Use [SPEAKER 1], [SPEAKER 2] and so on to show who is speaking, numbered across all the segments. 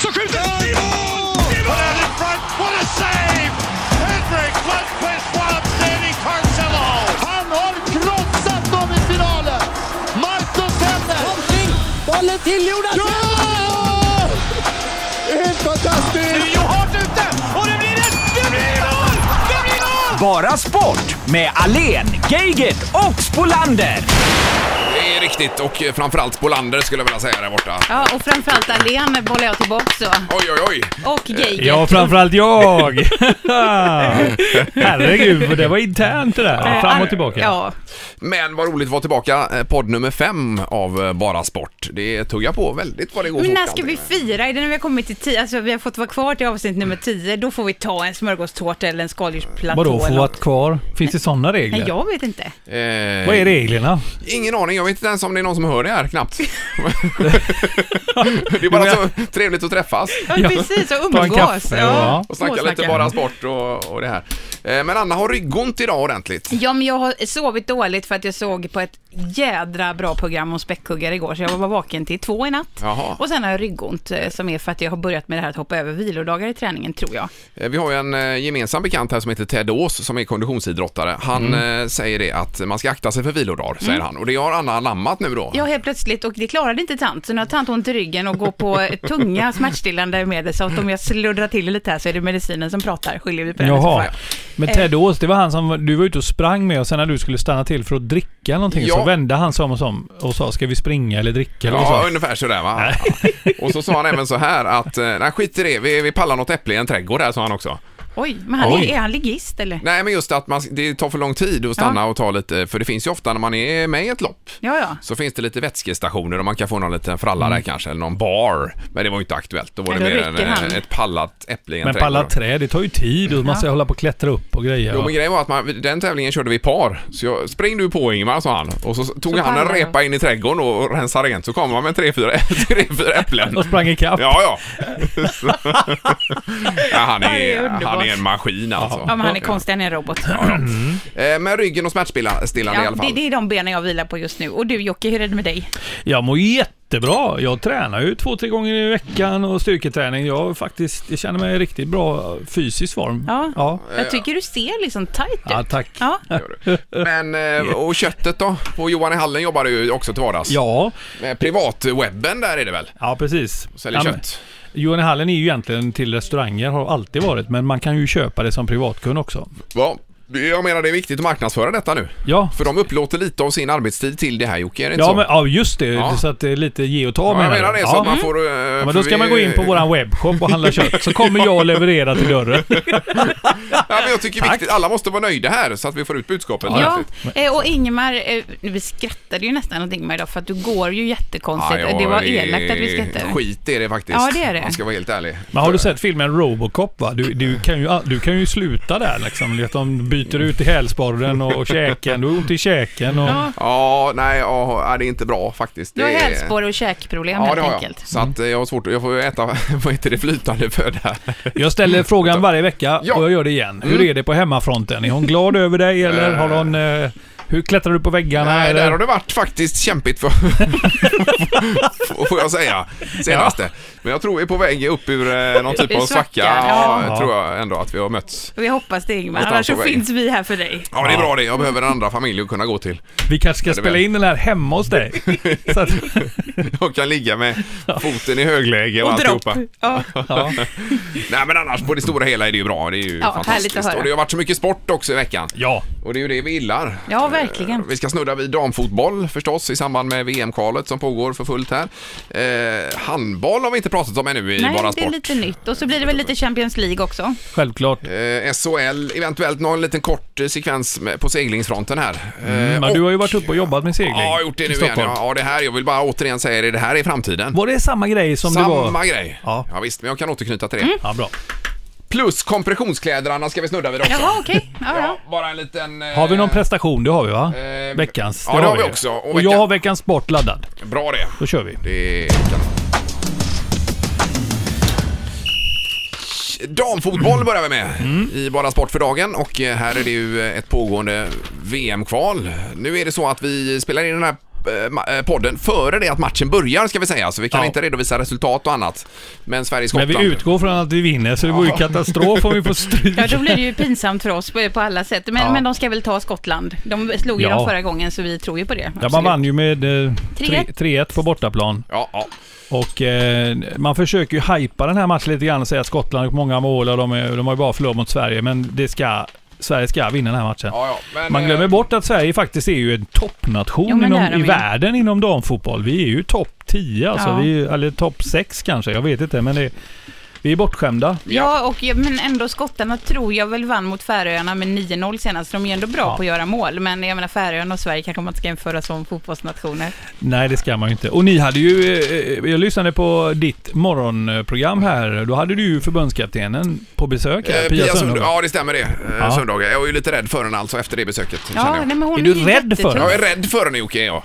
[SPEAKER 1] som skjuter! Ja,
[SPEAKER 2] I mål!
[SPEAKER 1] I
[SPEAKER 2] Put
[SPEAKER 1] mål!
[SPEAKER 2] out in front. What a save! Henrik Lundqvist, what outstanding Carcelo!
[SPEAKER 3] Han har krossat dem i finalen! Marcus Hellner!
[SPEAKER 4] Kontring! Bollen till Jonas!
[SPEAKER 3] Ja! Det är Helt fantastiskt!
[SPEAKER 2] Jo hårt ute! Och det blir ett... Det blir mål! Det blir mål!
[SPEAKER 5] Bara sport med Alen, Geigert och Spolander.
[SPEAKER 6] Det är riktigt och framförallt Spolander skulle jag vilja säga där borta.
[SPEAKER 7] Ja, och framförallt Alen bollar jag tillbaka så.
[SPEAKER 6] Oj, oj, oj.
[SPEAKER 7] Och Geigert.
[SPEAKER 8] Ja, framförallt jag! Herregud, för det var internt det
[SPEAKER 7] Eh,
[SPEAKER 8] där. Fram och tillbaka.
[SPEAKER 7] Äh, Ja,
[SPEAKER 6] Men vad roligt att vara tillbaka. Eh, Podd nummer fem av eh, Bara Sport. Det tuggar på väldigt vad det går
[SPEAKER 7] men
[SPEAKER 6] fort
[SPEAKER 7] när ska vi
[SPEAKER 6] allting.
[SPEAKER 7] fira? Är det när vi har kommit till tio? Alltså vi har fått vara kvar till avsnitt nummer tio. Då får vi ta en smörgåstårta eller en skaldjursplatå.
[SPEAKER 8] Vadå, få
[SPEAKER 7] eller
[SPEAKER 8] vara
[SPEAKER 7] något.
[SPEAKER 8] kvar? Finns det sådana
[SPEAKER 7] Nej,
[SPEAKER 8] regler?
[SPEAKER 7] jag vet inte.
[SPEAKER 6] Eh,
[SPEAKER 8] Vad är reglerna?
[SPEAKER 6] Ingen aning. Jag vet inte ens om det är någon som hör det här knappt. det är bara så trevligt att träffas
[SPEAKER 7] Ja,
[SPEAKER 8] Ja.
[SPEAKER 7] precis. Och
[SPEAKER 8] Ta en
[SPEAKER 7] umgås.
[SPEAKER 8] kaffe, ja.
[SPEAKER 6] och snacka lite
[SPEAKER 7] småsnacka.
[SPEAKER 6] Bara Sport och, och det här. Eh, men Anna har ryggont idag ordentligt.
[SPEAKER 7] Ja, men jag har sovit dåligt för att jag såg på ett jädra bra program om späckhuggare igår, så jag var vaken till två i natt.
[SPEAKER 6] Jaha.
[SPEAKER 7] Och sen har jag ryggont, eh, som är för att jag har börjat med det här att hoppa över vilodagar i träningen, tror jag.
[SPEAKER 6] Eh, Vi har ju en eh, gemensam bekant här som heter Ted Ås som är konditionsidrottare. Han eh, säger det att man ska akta sig för vilodagar, säger han. Och det har Anna anammat nu då.
[SPEAKER 7] Ja, helt plötsligt, och det klarade inte tant, så nu har tant ont i ryggen och går på tunga smärtstillande medel, så att om jag sluddrar till lite här så är det medicinen som pratar, skiljer vi på den.
[SPEAKER 8] Jaha.
[SPEAKER 7] Så
[SPEAKER 8] Men Ted Ås, det var han som du var ute och sprang med och sen när du skulle stanna till för att dricka någonting
[SPEAKER 6] Ja.
[SPEAKER 8] så vände han sig om och, som, och sa ska vi springa eller dricka eller vad
[SPEAKER 6] Ja,
[SPEAKER 8] sa
[SPEAKER 6] ungefär sådär va. Ja. Och så sa han även så här att, eh, nej skit i det, vi, vi pallar något äpple i en trädgård här sa han också.
[SPEAKER 7] Oj, men han
[SPEAKER 6] Oj.
[SPEAKER 7] Är, är han ligist eller?
[SPEAKER 6] Nej men just att man, det tar för lång tid att stanna och ta lite, för det finns ju ofta när man är med i ett lopp
[SPEAKER 7] Ja, ja.
[SPEAKER 6] så finns det lite vätskestationer och man kan få någon liten fralla där kanske, eller någon bar. Men det var ju inte aktuellt, då var det
[SPEAKER 7] Nej, då
[SPEAKER 6] mer en,
[SPEAKER 7] rycker han.
[SPEAKER 6] eh, ett pallat äpple i en
[SPEAKER 8] Men
[SPEAKER 6] trädgård.
[SPEAKER 8] palla träd, det tar ju tid och man ska hålla på och klättra upp och grejer.
[SPEAKER 6] Jo
[SPEAKER 8] va?
[SPEAKER 6] men grejen var att man, den tävlingen körde vi i par, så jag, spring du på Ingmar sa han. Och så tog
[SPEAKER 7] Så
[SPEAKER 6] han en
[SPEAKER 7] pallade du.
[SPEAKER 6] repa in i trädgården och och rensade rent, så kom han med tre, fyra, tre, fyra äpplen.
[SPEAKER 8] Och sprang ikapp.
[SPEAKER 6] Ja, ja. Så- ja han,
[SPEAKER 7] Det är
[SPEAKER 6] är,
[SPEAKER 7] underbart.
[SPEAKER 6] han är en maskin alltså.
[SPEAKER 7] Ja, men han är konstig, han är en robot.
[SPEAKER 6] Eh, Men ryggen och smärtstillande i
[SPEAKER 7] Ja,
[SPEAKER 6] alla
[SPEAKER 7] det,
[SPEAKER 6] fall.
[SPEAKER 7] det är de benen jag vilar på just nu. Och du Jocke, hur är det med dig?
[SPEAKER 8] Jag mår jättebra. Jag tränar ju två, tre gånger i veckan och styrketräning. Jag har faktiskt, jag känner mig i riktigt bra fysisk form.
[SPEAKER 7] Ja.
[SPEAKER 8] Ja,
[SPEAKER 6] Eh.
[SPEAKER 7] Jag tycker du ser liksom tight ut.
[SPEAKER 8] ja tack.
[SPEAKER 7] Ja.
[SPEAKER 6] Men, eh, och köttet då? På Johan i hallen jobbar du ju också till vardags.
[SPEAKER 8] Ja,
[SPEAKER 6] Eh, Privatwebben där är det väl?
[SPEAKER 8] ja precis.
[SPEAKER 6] Säljer
[SPEAKER 8] Ja, men-
[SPEAKER 6] kött.
[SPEAKER 8] Johan i hallen är ju egentligen till restauranger, har alltid varit, men man kan ju köpa det som privatkund också.
[SPEAKER 6] Ja, jag menar det är viktigt att marknadsföra detta nu.
[SPEAKER 8] Ja,
[SPEAKER 6] För de upplåter lite av sin arbetstid till det här Jocke, är det inte
[SPEAKER 8] ja,
[SPEAKER 6] så?
[SPEAKER 8] men, ja just det.
[SPEAKER 6] Ja.
[SPEAKER 8] Så att det är lite ge och ta
[SPEAKER 6] Ja, jag
[SPEAKER 8] du?
[SPEAKER 6] menar det, så
[SPEAKER 8] ja.
[SPEAKER 6] att man får... eh,
[SPEAKER 8] Ja,
[SPEAKER 6] för
[SPEAKER 8] men då ska
[SPEAKER 6] vi-
[SPEAKER 8] man gå in på våran webbshop och handla kött, så kommer jag och leverera till dörren.
[SPEAKER 6] Ja, men jag tycker det är
[SPEAKER 8] Tack.
[SPEAKER 6] viktigt, alla måste vara nöjda här så att vi får ut budskapet.
[SPEAKER 7] Ja,
[SPEAKER 6] ordentligt.
[SPEAKER 7] eh, och Ingmar, eh, vi skrattade ju nästan åt Ingmar idag för att du går ju jättekonstigt.
[SPEAKER 6] Ah, Ja, jag-
[SPEAKER 7] det var elakt att vi
[SPEAKER 6] är-
[SPEAKER 7] skrattade.
[SPEAKER 6] Skit är det faktiskt.
[SPEAKER 7] Ja, det är det.
[SPEAKER 6] Man ska vara helt ärlig.
[SPEAKER 8] Men har du sett filmen Robocop va? Du, du, kan, ju, du kan ju sluta där liksom. Att de byter ut i hälsporren och, och käken. Du har ont i käken och...
[SPEAKER 7] Ja.
[SPEAKER 6] Ja, nej, ja, nej, det är inte bra faktiskt.
[SPEAKER 7] Du har
[SPEAKER 6] Det är-
[SPEAKER 7] hälsporre och käkproblem
[SPEAKER 6] Ja,
[SPEAKER 7] helt
[SPEAKER 6] det har jag.
[SPEAKER 7] enkelt.
[SPEAKER 6] Så att eh, jag har svårt att- Jag får ju äta, vad heter det, flytande föda.
[SPEAKER 8] Jag ställer frågan varje vecka
[SPEAKER 6] Ja. Mm.
[SPEAKER 8] och jag gör det igen. Hur är det på hemmafronten? Är hon glad över dig eller har hon... Eh, hur klättrar du på väggarna?
[SPEAKER 6] Nej,
[SPEAKER 8] eller?
[SPEAKER 6] där har det varit faktiskt kämpigt för... får jag säga. Senaste. Men jag tror vi är på väg upp ur eh, någon typ
[SPEAKER 7] Ur
[SPEAKER 6] av svacka.
[SPEAKER 7] svacka,
[SPEAKER 6] Ja,
[SPEAKER 7] ja.
[SPEAKER 6] jag tror jag ändå att vi har mötts.
[SPEAKER 7] Vi hoppas det Ingmar,
[SPEAKER 6] Någonstans
[SPEAKER 7] annars så
[SPEAKER 6] på vägen.
[SPEAKER 7] finns vi här för dig.
[SPEAKER 6] Ja, men det är bra det. Jag behöver en andra familj att kunna gå till.
[SPEAKER 8] Vi kanske ska
[SPEAKER 6] det är
[SPEAKER 8] spela
[SPEAKER 6] väl.
[SPEAKER 8] in den här hemma hos dig. Så att,
[SPEAKER 6] Jag kan ligga med foten i högläge och,
[SPEAKER 7] Och dropp.
[SPEAKER 6] alltihopa.
[SPEAKER 7] Ja.
[SPEAKER 8] ja.
[SPEAKER 6] Nej men annars på det stora hela är det ju bra. Det är ju
[SPEAKER 7] Ja, härligt
[SPEAKER 6] fantastiskt.
[SPEAKER 7] att höra.
[SPEAKER 6] Och det har varit så mycket sport också i veckan.
[SPEAKER 8] ja.
[SPEAKER 6] Och det är ju det vi gillar. Eh,
[SPEAKER 7] Ja, verkligen.
[SPEAKER 6] Vi ska snudda vid damfotboll förstås i samband med VM-kvalet som pågår för fullt här. Eh, handboll har vi inte pratat om ännu i
[SPEAKER 7] Nej,
[SPEAKER 6] Bara
[SPEAKER 7] det är
[SPEAKER 6] Sport.
[SPEAKER 7] lite nytt. Och så blir det väl lite Champions League också.
[SPEAKER 8] Självklart.
[SPEAKER 6] Eh, SHL, eventuellt någon liten kort eh, sekvens med- på seglingsfronten här. Eh,
[SPEAKER 7] Mm,
[SPEAKER 8] Mm, Men du har ju varit uppe och jobbat med segling
[SPEAKER 6] Ja, jag har gjort det
[SPEAKER 8] i
[SPEAKER 6] nu igen.
[SPEAKER 8] Stockholm.
[SPEAKER 6] Ja, det här, jag vill bara återigen säga det, det här är framtiden.
[SPEAKER 8] Var det samma grej som det var?
[SPEAKER 6] Samma grej. Ja.
[SPEAKER 8] Ja.
[SPEAKER 6] visst, men jag kan återknyta till det.
[SPEAKER 8] Ja, bra.
[SPEAKER 6] Plus kompressionskläder, Anna, ska vi snudda vid också.
[SPEAKER 7] Jaha, okej. Ja,
[SPEAKER 6] Ja,
[SPEAKER 7] ja.
[SPEAKER 6] bara en liten... eh,
[SPEAKER 8] Har vi någon prestation? Det har vi va?
[SPEAKER 6] Eh,
[SPEAKER 8] veckans.
[SPEAKER 6] ja, det har vi
[SPEAKER 8] ju.
[SPEAKER 6] också. Och
[SPEAKER 8] Och, jag
[SPEAKER 6] veckan-
[SPEAKER 8] har veckans sport laddad.
[SPEAKER 6] eh, Bra det.
[SPEAKER 8] Då kör vi.
[SPEAKER 6] Det är Damfotboll börjar vi med
[SPEAKER 8] Mm.
[SPEAKER 6] i Bara Sport för dagen och eh, här är det ju eh, ett pågående VM-kval. Nu är det så att vi spelar in den här eh, ma- eh, podden före det att matchen börjar ska vi säga. Så vi kan
[SPEAKER 8] Ja.
[SPEAKER 6] inte redovisa resultat och annat. Men
[SPEAKER 8] Men
[SPEAKER 6] Sverige-Skottland.
[SPEAKER 8] vi utgår från att vi vinner, så det vore ju katastrof om vi får stryk.
[SPEAKER 7] Ja, då blir det ju pinsamt för oss på på alla sätt. Men, men de ska väl ta Skottland. De slog ju
[SPEAKER 8] Ja.
[SPEAKER 7] dem förra gången, så vi tror ju på det.
[SPEAKER 8] Ja, man
[SPEAKER 7] Absolut.
[SPEAKER 8] vann ju med eh, tre-
[SPEAKER 7] 3-1.
[SPEAKER 8] 3-1 på bortaplan.
[SPEAKER 6] Ja, ja.
[SPEAKER 8] Och eh, man försöker ju hypa den här matchen lite grann och säga att Skottland har gjort många mål och de, är, de har ju bara förlorat mot Sverige. Men det ska, Sverige ska vinna den här matchen.
[SPEAKER 6] Ja, ja, men, eh,
[SPEAKER 8] Man glömmer bort att Sverige faktiskt är ju en toppnation
[SPEAKER 7] eh, Jo, men det är
[SPEAKER 8] inom,
[SPEAKER 7] de
[SPEAKER 8] i
[SPEAKER 7] ju.
[SPEAKER 8] världen inom damfotboll. Vi är ju topp 10 alltså.
[SPEAKER 7] Ja.
[SPEAKER 8] Vi är, eller topp 6 kanske, jag vet inte. Men det, vi är bortskämda.
[SPEAKER 7] Ja, och, men ändå skottarna tror jag väl vann mot Färöarna med 9-0 senast. De är ju ändå bra på att göra mål, men jag menar Färöarna och Sverige kanske man inte ska jämföra som fotbollsnationer.
[SPEAKER 8] Nej, det ska man ju inte. Och ni hade ju... eh, eh, Jag lyssnade på ditt morgonprogram här. Då hade du ju förbundskaptenen på besök här,
[SPEAKER 6] Eh,
[SPEAKER 8] Pia
[SPEAKER 6] Pia Sund-
[SPEAKER 8] Sundhage.
[SPEAKER 6] ja, det stämmer det. Eh,
[SPEAKER 8] Ja.
[SPEAKER 6] Sundhage. Jag är ju lite rädd för henne alltså efter det besöket. känner
[SPEAKER 7] Ja,
[SPEAKER 6] jag.
[SPEAKER 7] nej, men hon
[SPEAKER 8] Är du
[SPEAKER 7] ju
[SPEAKER 8] rädd för
[SPEAKER 7] jättetuff.
[SPEAKER 8] det?
[SPEAKER 6] Jag är rädd för henne Jocke, är jag.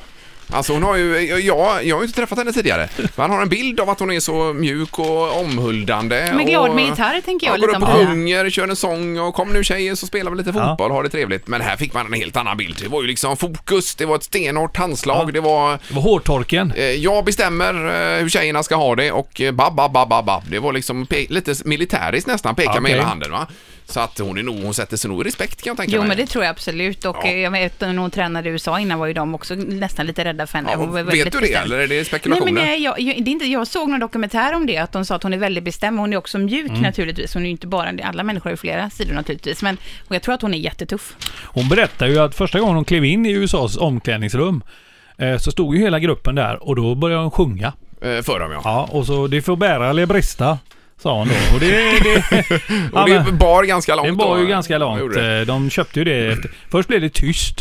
[SPEAKER 6] Alltså hon har ju, jag, jag, jag har ju inte träffat henne tidigare. Man har en bild av att hon är så mjuk och omhuldande.
[SPEAKER 7] Men
[SPEAKER 6] och-
[SPEAKER 7] glad med gitarr tänker jag
[SPEAKER 6] Ja, går
[SPEAKER 7] lite
[SPEAKER 6] upp
[SPEAKER 7] om
[SPEAKER 6] och
[SPEAKER 7] Pia.
[SPEAKER 6] sjunger, kör en sång och kom nu tjejer så spelar vi lite
[SPEAKER 8] Ja.
[SPEAKER 6] fotboll och har det trevligt. Men här fick man en helt annan bild. Det var ju liksom fokus, det var ett stenhårt handslag, det var
[SPEAKER 8] Det var hårtorken.
[SPEAKER 6] eh, jag bestämmer eh, hur tjejerna ska ha det och eh, bab, bab, bab, bab, bab. Det var liksom pe- lite militäriskt nästan, peka med
[SPEAKER 8] Okej.
[SPEAKER 6] hela handen va. Så att hon är nog, hon sätter sig nog i respekt kan jag tänka
[SPEAKER 7] Jo
[SPEAKER 6] mig.
[SPEAKER 7] men det tror jag absolut och
[SPEAKER 6] Ja.
[SPEAKER 7] eh, jag vet när hon tränade i USA innan var ju de också nästan lite rädda för henne.
[SPEAKER 6] ja,
[SPEAKER 7] Hon var väldigt
[SPEAKER 6] vet du det
[SPEAKER 7] bestämd.
[SPEAKER 6] eller är det
[SPEAKER 7] Nej,
[SPEAKER 6] spekulationer?
[SPEAKER 7] men nej, jag, jag, det är inte, jag såg någon dokumentär om det, att de sa att hon är väldigt bestämd. Hon är också mjuk naturligtvis. Hon är ju inte bara, alla människor har ju flera sidor naturligtvis. Men och jag tror att hon är jättetuff.
[SPEAKER 8] Hon berättar ju att första gången hon klev in i USAs omklädningsrum eh, så stod ju hela gruppen där och då började hon sjunga.
[SPEAKER 6] Eh, för dem ja.
[SPEAKER 8] Ja, och så det får bära eller brista, sa hon då. Och det... det ja,
[SPEAKER 6] Och det
[SPEAKER 8] men-
[SPEAKER 6] bar ganska långt
[SPEAKER 8] Den var
[SPEAKER 6] då.
[SPEAKER 8] ju ganska
[SPEAKER 6] Ja,
[SPEAKER 8] långt.
[SPEAKER 6] gjorde det. Mm.
[SPEAKER 8] Eh, De köpte ju det. Efter. Först blev det tyst.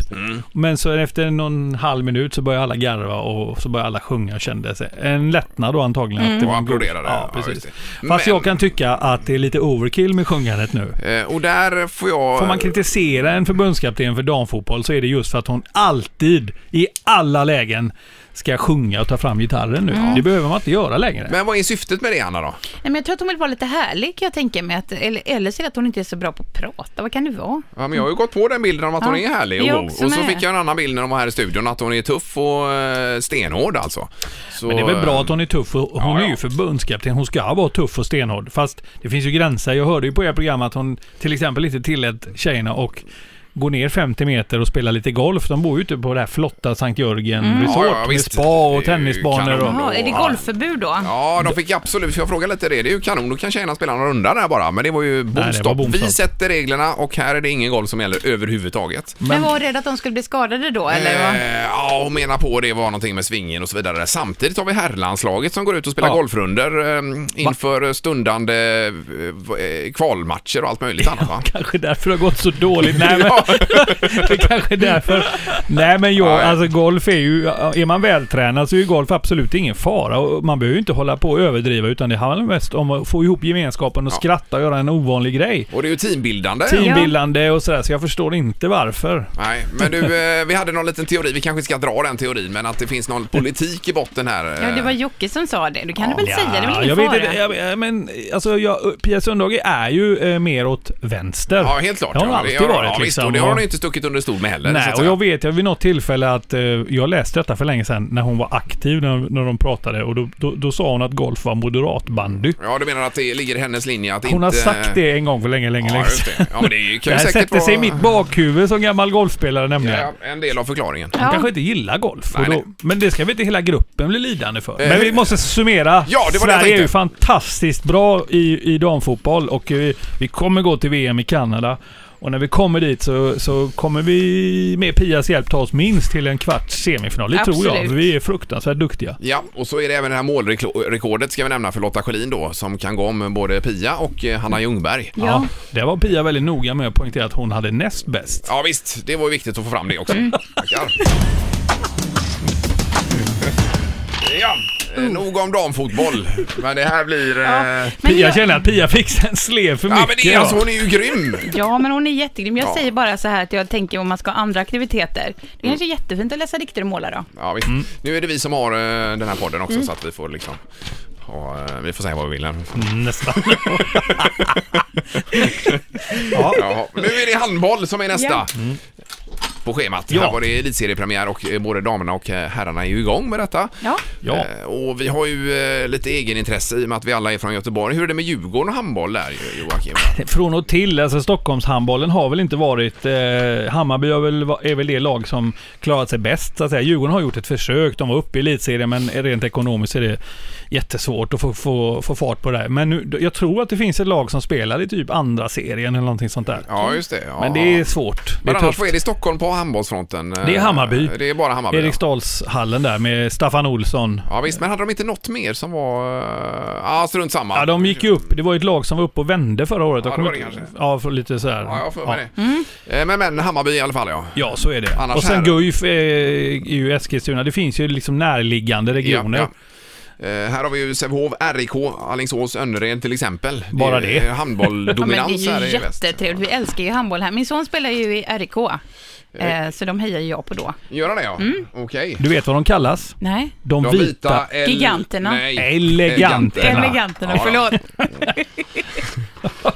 [SPEAKER 8] Men så efter någon halv minut så började alla garva och så började alla sjunga och kände sig. En lättnad då antagligen. att det
[SPEAKER 6] Mm. Och
[SPEAKER 8] var en god-
[SPEAKER 6] applåderade.
[SPEAKER 8] Ja,
[SPEAKER 6] Ja,
[SPEAKER 8] precis.
[SPEAKER 6] just det.
[SPEAKER 8] Fast
[SPEAKER 6] Men-
[SPEAKER 8] jag kan tycka att det är lite overkill med sjungandet nu.
[SPEAKER 6] Eh, Och där får jag...
[SPEAKER 8] Får man kritisera en förbundskapten för damfotboll så är det just för att hon alltid, i alla lägen, ska sjunga och ta fram gitarren nu. Det behöver man inte göra längre.
[SPEAKER 6] Men vad är syftet med det Anna då?
[SPEAKER 7] Nej, men jag tror att hon vill vara lite härlig kan jag tänka mig. Att, eller, eller så är det att hon inte är så bra på att prata. Vad kan det vara?
[SPEAKER 6] Ja, men jag har ju gått på den bilden om att hon
[SPEAKER 7] Ja,
[SPEAKER 6] är härlig och
[SPEAKER 7] jag
[SPEAKER 6] god.
[SPEAKER 7] också
[SPEAKER 6] Och så
[SPEAKER 7] med.
[SPEAKER 6] fick jag en annan bild när de var här i studion att hon är tuff och eh, stenhård alltså. Så,
[SPEAKER 8] Men det är väl bra att hon är tuff och hon
[SPEAKER 6] eh, Ja, ja.
[SPEAKER 8] är ju förbundskapten. Hon ska vara tuff och stenhård. Fast det finns ju gränser. Jag hörde ju på ert program att hon till exempel inte tillät tjejerna och gå ner 50 meter och spela lite golf. De bor ju ute på det här flotta Sankt Jörgen Resort
[SPEAKER 6] Ja, ja,
[SPEAKER 8] med
[SPEAKER 6] visst.
[SPEAKER 8] spa och
[SPEAKER 6] Det är ju
[SPEAKER 8] tennisbanor.
[SPEAKER 6] kanon.
[SPEAKER 8] Och...
[SPEAKER 7] Jaha, är det
[SPEAKER 6] Ja.
[SPEAKER 7] golfförbud då?
[SPEAKER 6] Ja, de fick absolut, för jag frågade lite det, det är ju kanon, då kan tjejerna spela några runda där bara. Men det var ju
[SPEAKER 8] det var
[SPEAKER 6] bomstopp.
[SPEAKER 8] bomstopp.
[SPEAKER 6] Vi sätter reglerna och här är det ingen golv som gäller överhuvudtaget.
[SPEAKER 7] Men, var hon rädd att de skulle bli skadade då? Eller vad?
[SPEAKER 6] Eh, ja, hon menar på det var någonting med svingen och så vidare. Samtidigt har vi herrlandslaget som går ut och spelar
[SPEAKER 8] Ja.
[SPEAKER 6] golfrunder eh, inför stundande eh, kvalmatcher och allt möjligt annat va?
[SPEAKER 8] Kanske därför det har gått så dåligt. Nej, men,
[SPEAKER 6] Ja.
[SPEAKER 8] det kanske är därför. Nej men jag,
[SPEAKER 6] Nej.
[SPEAKER 8] alltså golf är ju... Är man vältränad så är ju golf absolut ingen fara. Och man behöver ju inte hålla på och överdriva utan det handlar mest om att få ihop gemenskapen och skratta och göra en ovanlig grej.
[SPEAKER 6] Och det är ju teambildande.
[SPEAKER 8] teambildande och sådär, så jag förstår inte varför.
[SPEAKER 6] Nej, men du, eh, vi hade någon liten teori, vi kanske ska dra den teorin, men att det finns någon politik i botten här. eh.
[SPEAKER 7] Ja, det var Jocke som sa det. Du kan
[SPEAKER 6] Ja.
[SPEAKER 7] du väl säga, det är väl
[SPEAKER 8] jag
[SPEAKER 7] ingen
[SPEAKER 8] vet
[SPEAKER 7] fara?
[SPEAKER 8] inte, jag, men alltså jag, Pia Sundhage är ju eh, mer åt vänster.
[SPEAKER 6] Ja, helt klart.
[SPEAKER 8] Det har hon
[SPEAKER 6] ja,
[SPEAKER 8] alltid
[SPEAKER 6] har-
[SPEAKER 8] varit
[SPEAKER 6] ja, visst,
[SPEAKER 8] liksom.
[SPEAKER 6] och det har hon
[SPEAKER 8] och-
[SPEAKER 6] inte stuckit under stol med heller. så
[SPEAKER 8] Nej,
[SPEAKER 6] att
[SPEAKER 8] och
[SPEAKER 6] säga.
[SPEAKER 8] jag vet jag vid något tillfälle att eh, jag läste detta för länge sedan när hon var aktiv när, när de pratade och då, då, då sa hon att golf var moderatbandy.
[SPEAKER 6] Ja, du menar att det ligger i hennes linje att
[SPEAKER 8] Hon
[SPEAKER 6] inte...
[SPEAKER 8] har sagt det en gång för länge, länge,
[SPEAKER 6] Ja,
[SPEAKER 8] länge
[SPEAKER 6] just
[SPEAKER 8] sedan.
[SPEAKER 6] det. Ja, men det
[SPEAKER 8] Det
[SPEAKER 6] kan ju
[SPEAKER 8] här
[SPEAKER 6] säkert
[SPEAKER 8] sätter
[SPEAKER 6] vara...
[SPEAKER 8] sig i mitt bakhuvud som gammal golfspelare nämligen.
[SPEAKER 6] Ja, en del av förklaringen.
[SPEAKER 8] Hon
[SPEAKER 7] Ja.
[SPEAKER 8] kanske inte gillar golf.
[SPEAKER 6] Nej,
[SPEAKER 8] och då,
[SPEAKER 6] nej.
[SPEAKER 8] men det ska väl inte hela gruppen bli lidande för.
[SPEAKER 6] Eh,
[SPEAKER 8] Men vi måste summera.
[SPEAKER 6] Ja, det var det jag
[SPEAKER 8] Sverige är
[SPEAKER 6] tänkte.
[SPEAKER 8] ju fantastiskt bra i, i damfotboll och vi, vi kommer gå till VM i Kanada. Och när vi kommer dit så, så kommer vi med Pias hjälp ta oss minst till en kvarts semifinal. Det tror jag.
[SPEAKER 7] Absolut.
[SPEAKER 8] för Vi är fruktansvärt duktiga.
[SPEAKER 6] Ja, och så är det även det här målrekordet ska vi nämna för Lotta Schelin då, som kan gå om både Pia och eh, Hanna Ljungberg.
[SPEAKER 7] Ja.
[SPEAKER 8] Där var Pia väldigt noga med att poängtera att hon hade näst bäst.
[SPEAKER 6] Ja, visst. Det var ju viktigt att få fram det också.
[SPEAKER 8] Mm.
[SPEAKER 6] Tackar. Ja, eh, nog om damfotboll. Men det här blir... eh, Ja,
[SPEAKER 7] Men
[SPEAKER 8] Pia
[SPEAKER 7] jag-
[SPEAKER 8] känner att Pia fick en slev för mycket.
[SPEAKER 6] men det är, alltså,
[SPEAKER 8] va?
[SPEAKER 6] hon är ju grym!
[SPEAKER 7] Ja, men hon är jättegrym. Jag
[SPEAKER 6] Ja.
[SPEAKER 7] säger bara så här att jag tänker om man ska ha andra aktiviteter. Det kanske är jättefint att läsa dikter och måla då.
[SPEAKER 6] Ja, visst.
[SPEAKER 8] Mm.
[SPEAKER 6] Nu är det vi som har eh, den här podden också så att vi får liksom... Ja, eh, vi får säga vad vi vill här.
[SPEAKER 8] Nästan.
[SPEAKER 6] Ja, nu är det handboll som är nästa. på schemat.
[SPEAKER 8] Ja.
[SPEAKER 6] Här var det elitseriepremiär och eh, både damerna och eh, herrarna är ju igång med detta.
[SPEAKER 7] Ja.
[SPEAKER 8] Ja.
[SPEAKER 6] Eh, Och vi har ju eh, lite egenintresse i och med att vi alla är från Göteborg. Hur är det med Djurgården och handboll där Jo- Joakim?
[SPEAKER 8] Från och till, alltså Stockholmshandbollen har väl inte varit... Eh, Hammarby har väl, va- är väl det lag som klarat sig bäst så att säga. Djurgården har gjort ett försök, de var uppe i elitserien men rent ekonomiskt är det jättesvårt att få, få, få fart på det här. Men nu, jag tror att det finns ett lag som spelar i typ andra serien eller någonting sånt där.
[SPEAKER 6] Ja, just det. Ja.
[SPEAKER 8] Mm. Men det är svårt. Det
[SPEAKER 6] Men
[SPEAKER 8] är
[SPEAKER 6] annars,
[SPEAKER 8] tufft.
[SPEAKER 6] vad är det i Stockholm på handbollsfronten? Eh,
[SPEAKER 8] Det är Hammarby.
[SPEAKER 6] Det är bara Hammarby. ja.
[SPEAKER 8] Eriksdalshallen där med Staffan Olsson.
[SPEAKER 6] Ja visst, men hade de inte något mer som var... eh, Ja, strunt samma.
[SPEAKER 8] Ja, de gick ju upp. Det var ju ett lag som var uppe och vände förra året.
[SPEAKER 6] Ja,
[SPEAKER 8] Jag
[SPEAKER 6] det var
[SPEAKER 8] kommer
[SPEAKER 6] det
[SPEAKER 8] inte-
[SPEAKER 6] kanske.
[SPEAKER 8] Ja, för lite så här.
[SPEAKER 6] Ja, jag har för mig det. Eh, Men, men Hammarby i alla fall ja.
[SPEAKER 8] Ja, så är det.
[SPEAKER 6] Annars
[SPEAKER 8] och sen
[SPEAKER 6] här-
[SPEAKER 8] Guif eh, är ju Eskilstuna. Det finns ju liksom närliggande regioner.
[SPEAKER 6] Ja, ja. Eh, här har vi ju Sävehof, RIK, Alingsås, Önnered till exempel.
[SPEAKER 8] Bara
[SPEAKER 6] är
[SPEAKER 8] det.
[SPEAKER 6] ju
[SPEAKER 7] Ja, men det
[SPEAKER 6] Handbolldominans
[SPEAKER 7] är
[SPEAKER 6] här
[SPEAKER 7] ju
[SPEAKER 6] i väst.
[SPEAKER 7] jättetrevligt. Vi älskar ju handboll här. Min son spelar ju i RIK, eh, så de hejar ju jag på då.
[SPEAKER 6] Gör han det ja?
[SPEAKER 7] Mm.
[SPEAKER 6] Okej.
[SPEAKER 8] Du vet vad de kallas?
[SPEAKER 7] Nej.
[SPEAKER 8] De,
[SPEAKER 6] De vita... el-
[SPEAKER 7] Giganterna.
[SPEAKER 6] Nej.
[SPEAKER 8] Eleganterna.
[SPEAKER 7] Eleganterna,
[SPEAKER 6] Ja, ja.
[SPEAKER 7] förlåt.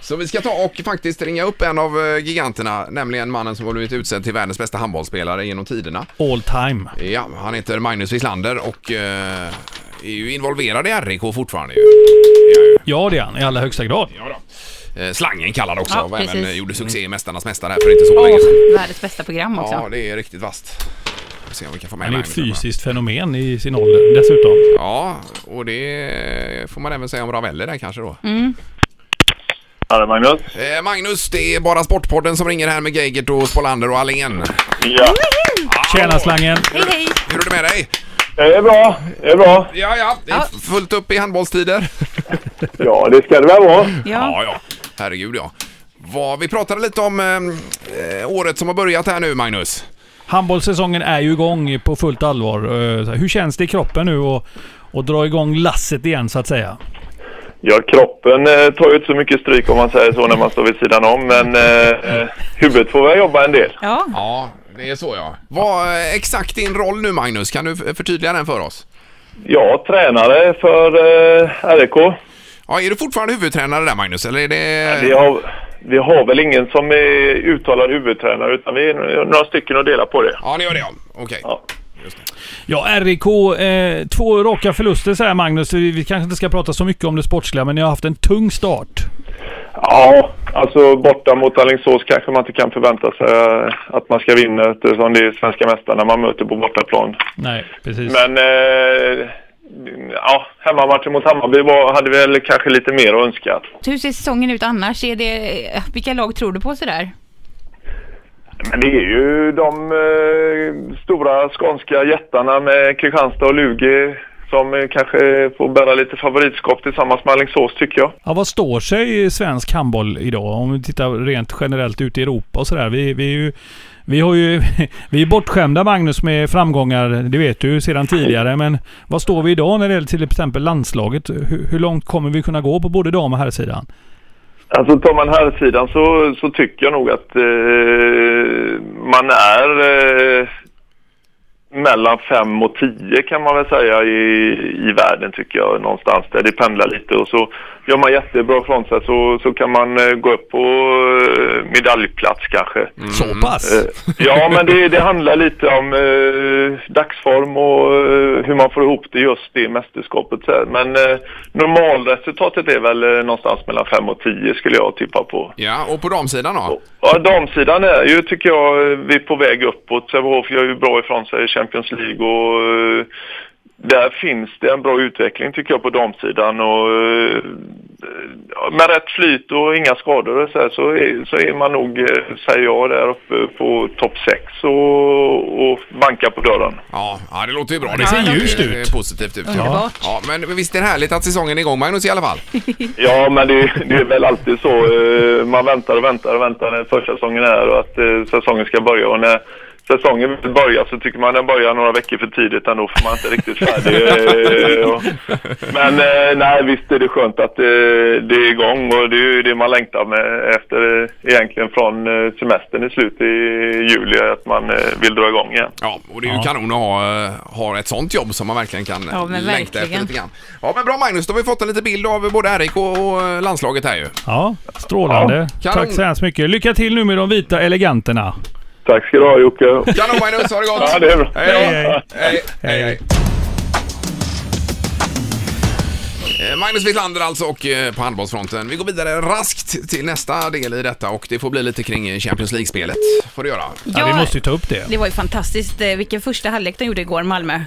[SPEAKER 6] Så vi ska ta och faktiskt ringa upp en av eh, giganterna, nämligen mannen som har blivit utsedd till världens bästa handbollsspelare genom tiderna.
[SPEAKER 8] All time.
[SPEAKER 6] Ja, han heter Magnus Wislander och eh, är ju involverad i RIK fortfarande ju.
[SPEAKER 8] Ja, det är han i allra högsta grad.
[SPEAKER 6] Eh, Slangen kallad också,
[SPEAKER 7] Ja,
[SPEAKER 6] och även
[SPEAKER 7] precis.
[SPEAKER 6] eh, gjorde succé i Mästarnas mästare här för inte så länge
[SPEAKER 7] Åh,
[SPEAKER 6] sedan.
[SPEAKER 7] världens bästa program också.
[SPEAKER 6] Ja, det är riktigt vasst. Vi får se om vi kan få med
[SPEAKER 8] Han är ett
[SPEAKER 6] Magnus här bara.
[SPEAKER 8] fysiskt fenomen i sin ålder dessutom.
[SPEAKER 6] Ja, och det får man även säga om Ravelli där kanske då.
[SPEAKER 7] Mm.
[SPEAKER 1] Hallå Magnus.
[SPEAKER 6] Eh, Magnus, det är bara Sportpodden som ringer här med Geigert och Spolander och Allén.
[SPEAKER 1] Ja.
[SPEAKER 8] Tjena slangen!
[SPEAKER 7] Hej, hej.
[SPEAKER 6] Hur är det med dig?
[SPEAKER 1] Det är bra. Det är bra.
[SPEAKER 6] Ja, ja, det är
[SPEAKER 7] Ja.
[SPEAKER 6] fullt upp i handbollstider.
[SPEAKER 1] Ja, det ska det väl vara.
[SPEAKER 7] Ja.
[SPEAKER 6] ja. Herregud ja. Vad, vi pratade lite om eh, eh, året som har börjat här nu, Magnus.
[SPEAKER 8] Handbollssäsongen är ju igång på fullt allvar. Eh, så här, Hur känns det i kroppen nu och, och dra igång lasset igen så att säga?
[SPEAKER 1] Ja, kroppen eh, tar ju inte så mycket stryk om man säger så när man står vid sidan om, men eh, eh, huvudet får väl jobba en del.
[SPEAKER 7] Ja.
[SPEAKER 6] Ja, det är så ja. Vad eh, exakt din roll nu, Magnus? Kan du f- förtydliga den för oss?
[SPEAKER 1] Jag tränare för eh, RIK.
[SPEAKER 6] Ja, är du fortfarande huvudtränare där, Magnus? Eller är det...
[SPEAKER 1] Vi har, vi har väl ingen som är uttalad huvudtränare, utan vi är några stycken och delar på det.
[SPEAKER 6] Ja, ni gör det ja. Okej.
[SPEAKER 1] Ja.
[SPEAKER 8] Ja, RIK. Eh, två raka förluster säger Magnus. Vi, vi kanske inte ska prata så mycket om det sportsliga, men ni har haft en tung start.
[SPEAKER 1] Ja, alltså borta mot Alingsås kanske man inte kan förvänta sig eh, att man ska vinna eftersom det är svenska mästarna man möter på bortaplan.
[SPEAKER 8] Nej, precis.
[SPEAKER 1] Men eh, ja, hemmamatchen mot Hammarby var, hade väl kanske lite mer att önska.
[SPEAKER 7] Hur ser säsongen ut annars? Är det, eh, vilka lag tror du på sådär?
[SPEAKER 1] Men det är ju de eh, stora skånska jättarna med Kristianstad och Lugi som eh, kanske får bära lite favoritskap tillsammans med Alingsås tycker jag.
[SPEAKER 8] Ja, vad står sig svensk handboll idag? Om vi tittar rent generellt ut i Europa och sådär. Vi, vi, är ju, vi, har ju, vi är bortskämda Magnus med framgångar, det vet du sedan tidigare. Men vad står vi idag när det gäller till exempel landslaget? Hur, hur långt kommer vi kunna gå på både dam och herrsidan?
[SPEAKER 1] Alltså tar man här sidan så, så tycker jag nog att eh, man är eh, mellan 5 och 10 kan man väl säga i, i världen tycker jag någonstans där det pendlar lite och så gör man jättebra ifrån sig så, så kan man eh, gå upp på eh, medaljplats kanske.
[SPEAKER 8] Så pass?
[SPEAKER 1] Eh, Ja men det, det handlar lite om eh, dagsform och eh, hur man får ihop det just det mästerskapet sen. Men eh, normalresultatet är väl eh, någonstans mellan 5 och 10 skulle jag tippa på.
[SPEAKER 6] Ja, och på damsidan då?
[SPEAKER 1] Ja, damsidan är ju, tycker jag, eh, vi är på väg uppåt. Sävehof gör ju bra ifrån sig i Champions League och eh, där finns det en bra utveckling tycker jag på damsidan och eh, ja, med rätt flyt och inga skador och så, här, så, är, så är man nog, eh, säger jag, där uppe på topp 6 och, och bankar på dörren.
[SPEAKER 6] Ja, ja det låter ju bra. Det
[SPEAKER 8] ser ljust ut.
[SPEAKER 6] Det är Positivt ut. Ja.
[SPEAKER 7] Underbart.
[SPEAKER 6] ja, men visst är det härligt att säsongen är igång, Magnus, i alla fall?
[SPEAKER 1] Ja, men det, det är väl alltid så. eh, Man väntar och väntar och väntar när första säsongen är och att eh, säsongen ska börja. Och när säsongen väl börjar så tycker man den börjar några veckor för tidigt ändå för man är inte riktigt färdig. eh, och- Men eh, nej, visst är det skönt att eh, det är igång och det är ju det man längtar med efter eh, egentligen från eh, semestern i slutet i juli att man eh, vill dra igång igen.
[SPEAKER 6] Ja, och det är ju kanon att ha, eh, ha ett sånt jobb som man verkligen kan
[SPEAKER 7] Ja, men
[SPEAKER 6] längta efter
[SPEAKER 7] verkligen.
[SPEAKER 6] lite grann. Ja, men bra Magnus, då har vi fått en liten bild av både RIK och eh, landslaget här ju.
[SPEAKER 8] Ja, strålande.
[SPEAKER 6] Ja, kanon.
[SPEAKER 8] Tack så hemskt mycket. Lycka till nu med de vita eleganterna.
[SPEAKER 1] Tack ska du ha Jocke.
[SPEAKER 6] Kanon Magnus, ha det gott!
[SPEAKER 1] Ja, det är bra.
[SPEAKER 6] Hej, då.
[SPEAKER 8] Hej, hej.
[SPEAKER 6] hej, hej, hej. Eh, Magnus Wiklander alltså och eh, på handbollsfronten. Vi går vidare raskt till nästa del i detta och det får bli lite kring eh, Champions League-spelet. Får du göra.
[SPEAKER 8] Ja, vi måste ju ta upp det.
[SPEAKER 7] Det var ju fantastiskt eh, vilken första halvlek de gjorde igår, Malmö.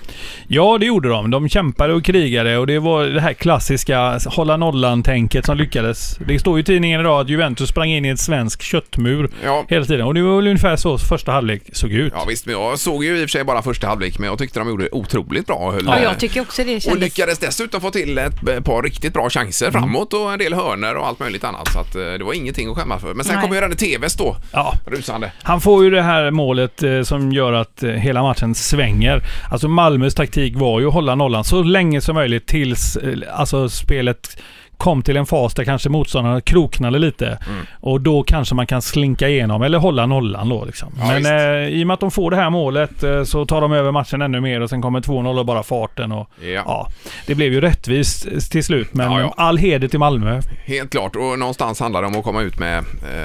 [SPEAKER 8] Ja, det gjorde de. De kämpade och krigade och det var det här klassiska hålla nollan-tänket som lyckades. Det står ju i tidningen idag att Juventus sprang in i en svensk köttmur
[SPEAKER 6] Ja.
[SPEAKER 8] hela tiden. Och det var väl ungefär så första halvlek såg ut.
[SPEAKER 6] Ja visst, men jag såg ju i och för sig bara första halvlek men jag tyckte de gjorde otroligt bra och höll
[SPEAKER 7] Ja,
[SPEAKER 6] eh,
[SPEAKER 7] jag tycker också det
[SPEAKER 6] och
[SPEAKER 7] kändes... Mm.
[SPEAKER 6] lyckades dessutom få till ett eh, par riktigt bra chanser framåt och en del hörner och allt möjligt annat. Så att eh, det var ingenting att skämmas för. Men sen
[SPEAKER 7] Nej.
[SPEAKER 6] kom ju redan TVs då,
[SPEAKER 8] Ja.
[SPEAKER 6] rusande.
[SPEAKER 8] Han får ju det här målet eh, som gör att eh, hela matchen svänger. Alltså Malmös taktik var ju att hålla nollan så länge som möjligt tills eh, alltså spelet kom till en fas där kanske motståndarna kroknade lite.
[SPEAKER 6] Mm.
[SPEAKER 8] Och då kanske man kan slinka igenom eller hålla nollan då. Liksom.
[SPEAKER 6] Ja,
[SPEAKER 8] Men
[SPEAKER 6] visst.
[SPEAKER 8] eh, i och med att de får det här målet eh, så tar de över matchen ännu mer och sen kommer 2-0 och bara farten. Och,
[SPEAKER 6] Ja.
[SPEAKER 8] ja, det blev ju rättvist eh, till slut men
[SPEAKER 6] Ja, ja.
[SPEAKER 8] all heder till Malmö.
[SPEAKER 6] Helt klart, och någonstans handlar det om att komma ut med,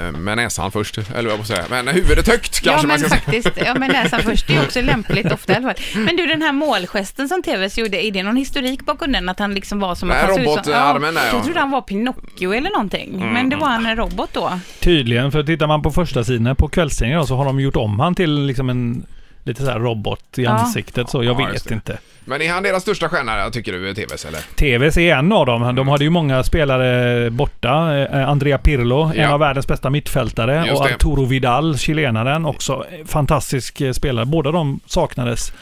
[SPEAKER 6] eh, med näsan först, eller vad jag säga. Men huvudet högt kanske
[SPEAKER 7] Ja
[SPEAKER 6] man
[SPEAKER 7] men
[SPEAKER 6] ska säga.
[SPEAKER 7] faktiskt, ja men näsan först det är också lämpligt ofta i alla fall. Men du den här målgesten som TVs gjorde, är det någon historik bakom den? Att han liksom var som
[SPEAKER 6] Nej,
[SPEAKER 7] att han såg ut som-
[SPEAKER 6] robotarmen där, ja. Mm,
[SPEAKER 7] Jag trodde han var Pinocchio eller någonting, men det var han en robot då.
[SPEAKER 8] Tydligen, för tittar man på första sidan på kvällstidningen då, så har de gjort om han till liksom en lite så här robot i
[SPEAKER 7] Ja.
[SPEAKER 8] ansiktet så. Jag
[SPEAKER 6] Ja, just
[SPEAKER 8] vet
[SPEAKER 6] det.
[SPEAKER 8] inte.
[SPEAKER 6] Men är han deras största stjärna, tycker du, TVs eller?
[SPEAKER 8] TVs är en av dem. De hade ju många spelare borta. Eh, Andrea Pirlo,
[SPEAKER 6] Ja.
[SPEAKER 8] en av världens bästa mittfältare.
[SPEAKER 6] Just
[SPEAKER 8] och
[SPEAKER 6] det.
[SPEAKER 8] Arturo Vidal, chilenaren, också fantastisk eh, spelare. Båda de saknades.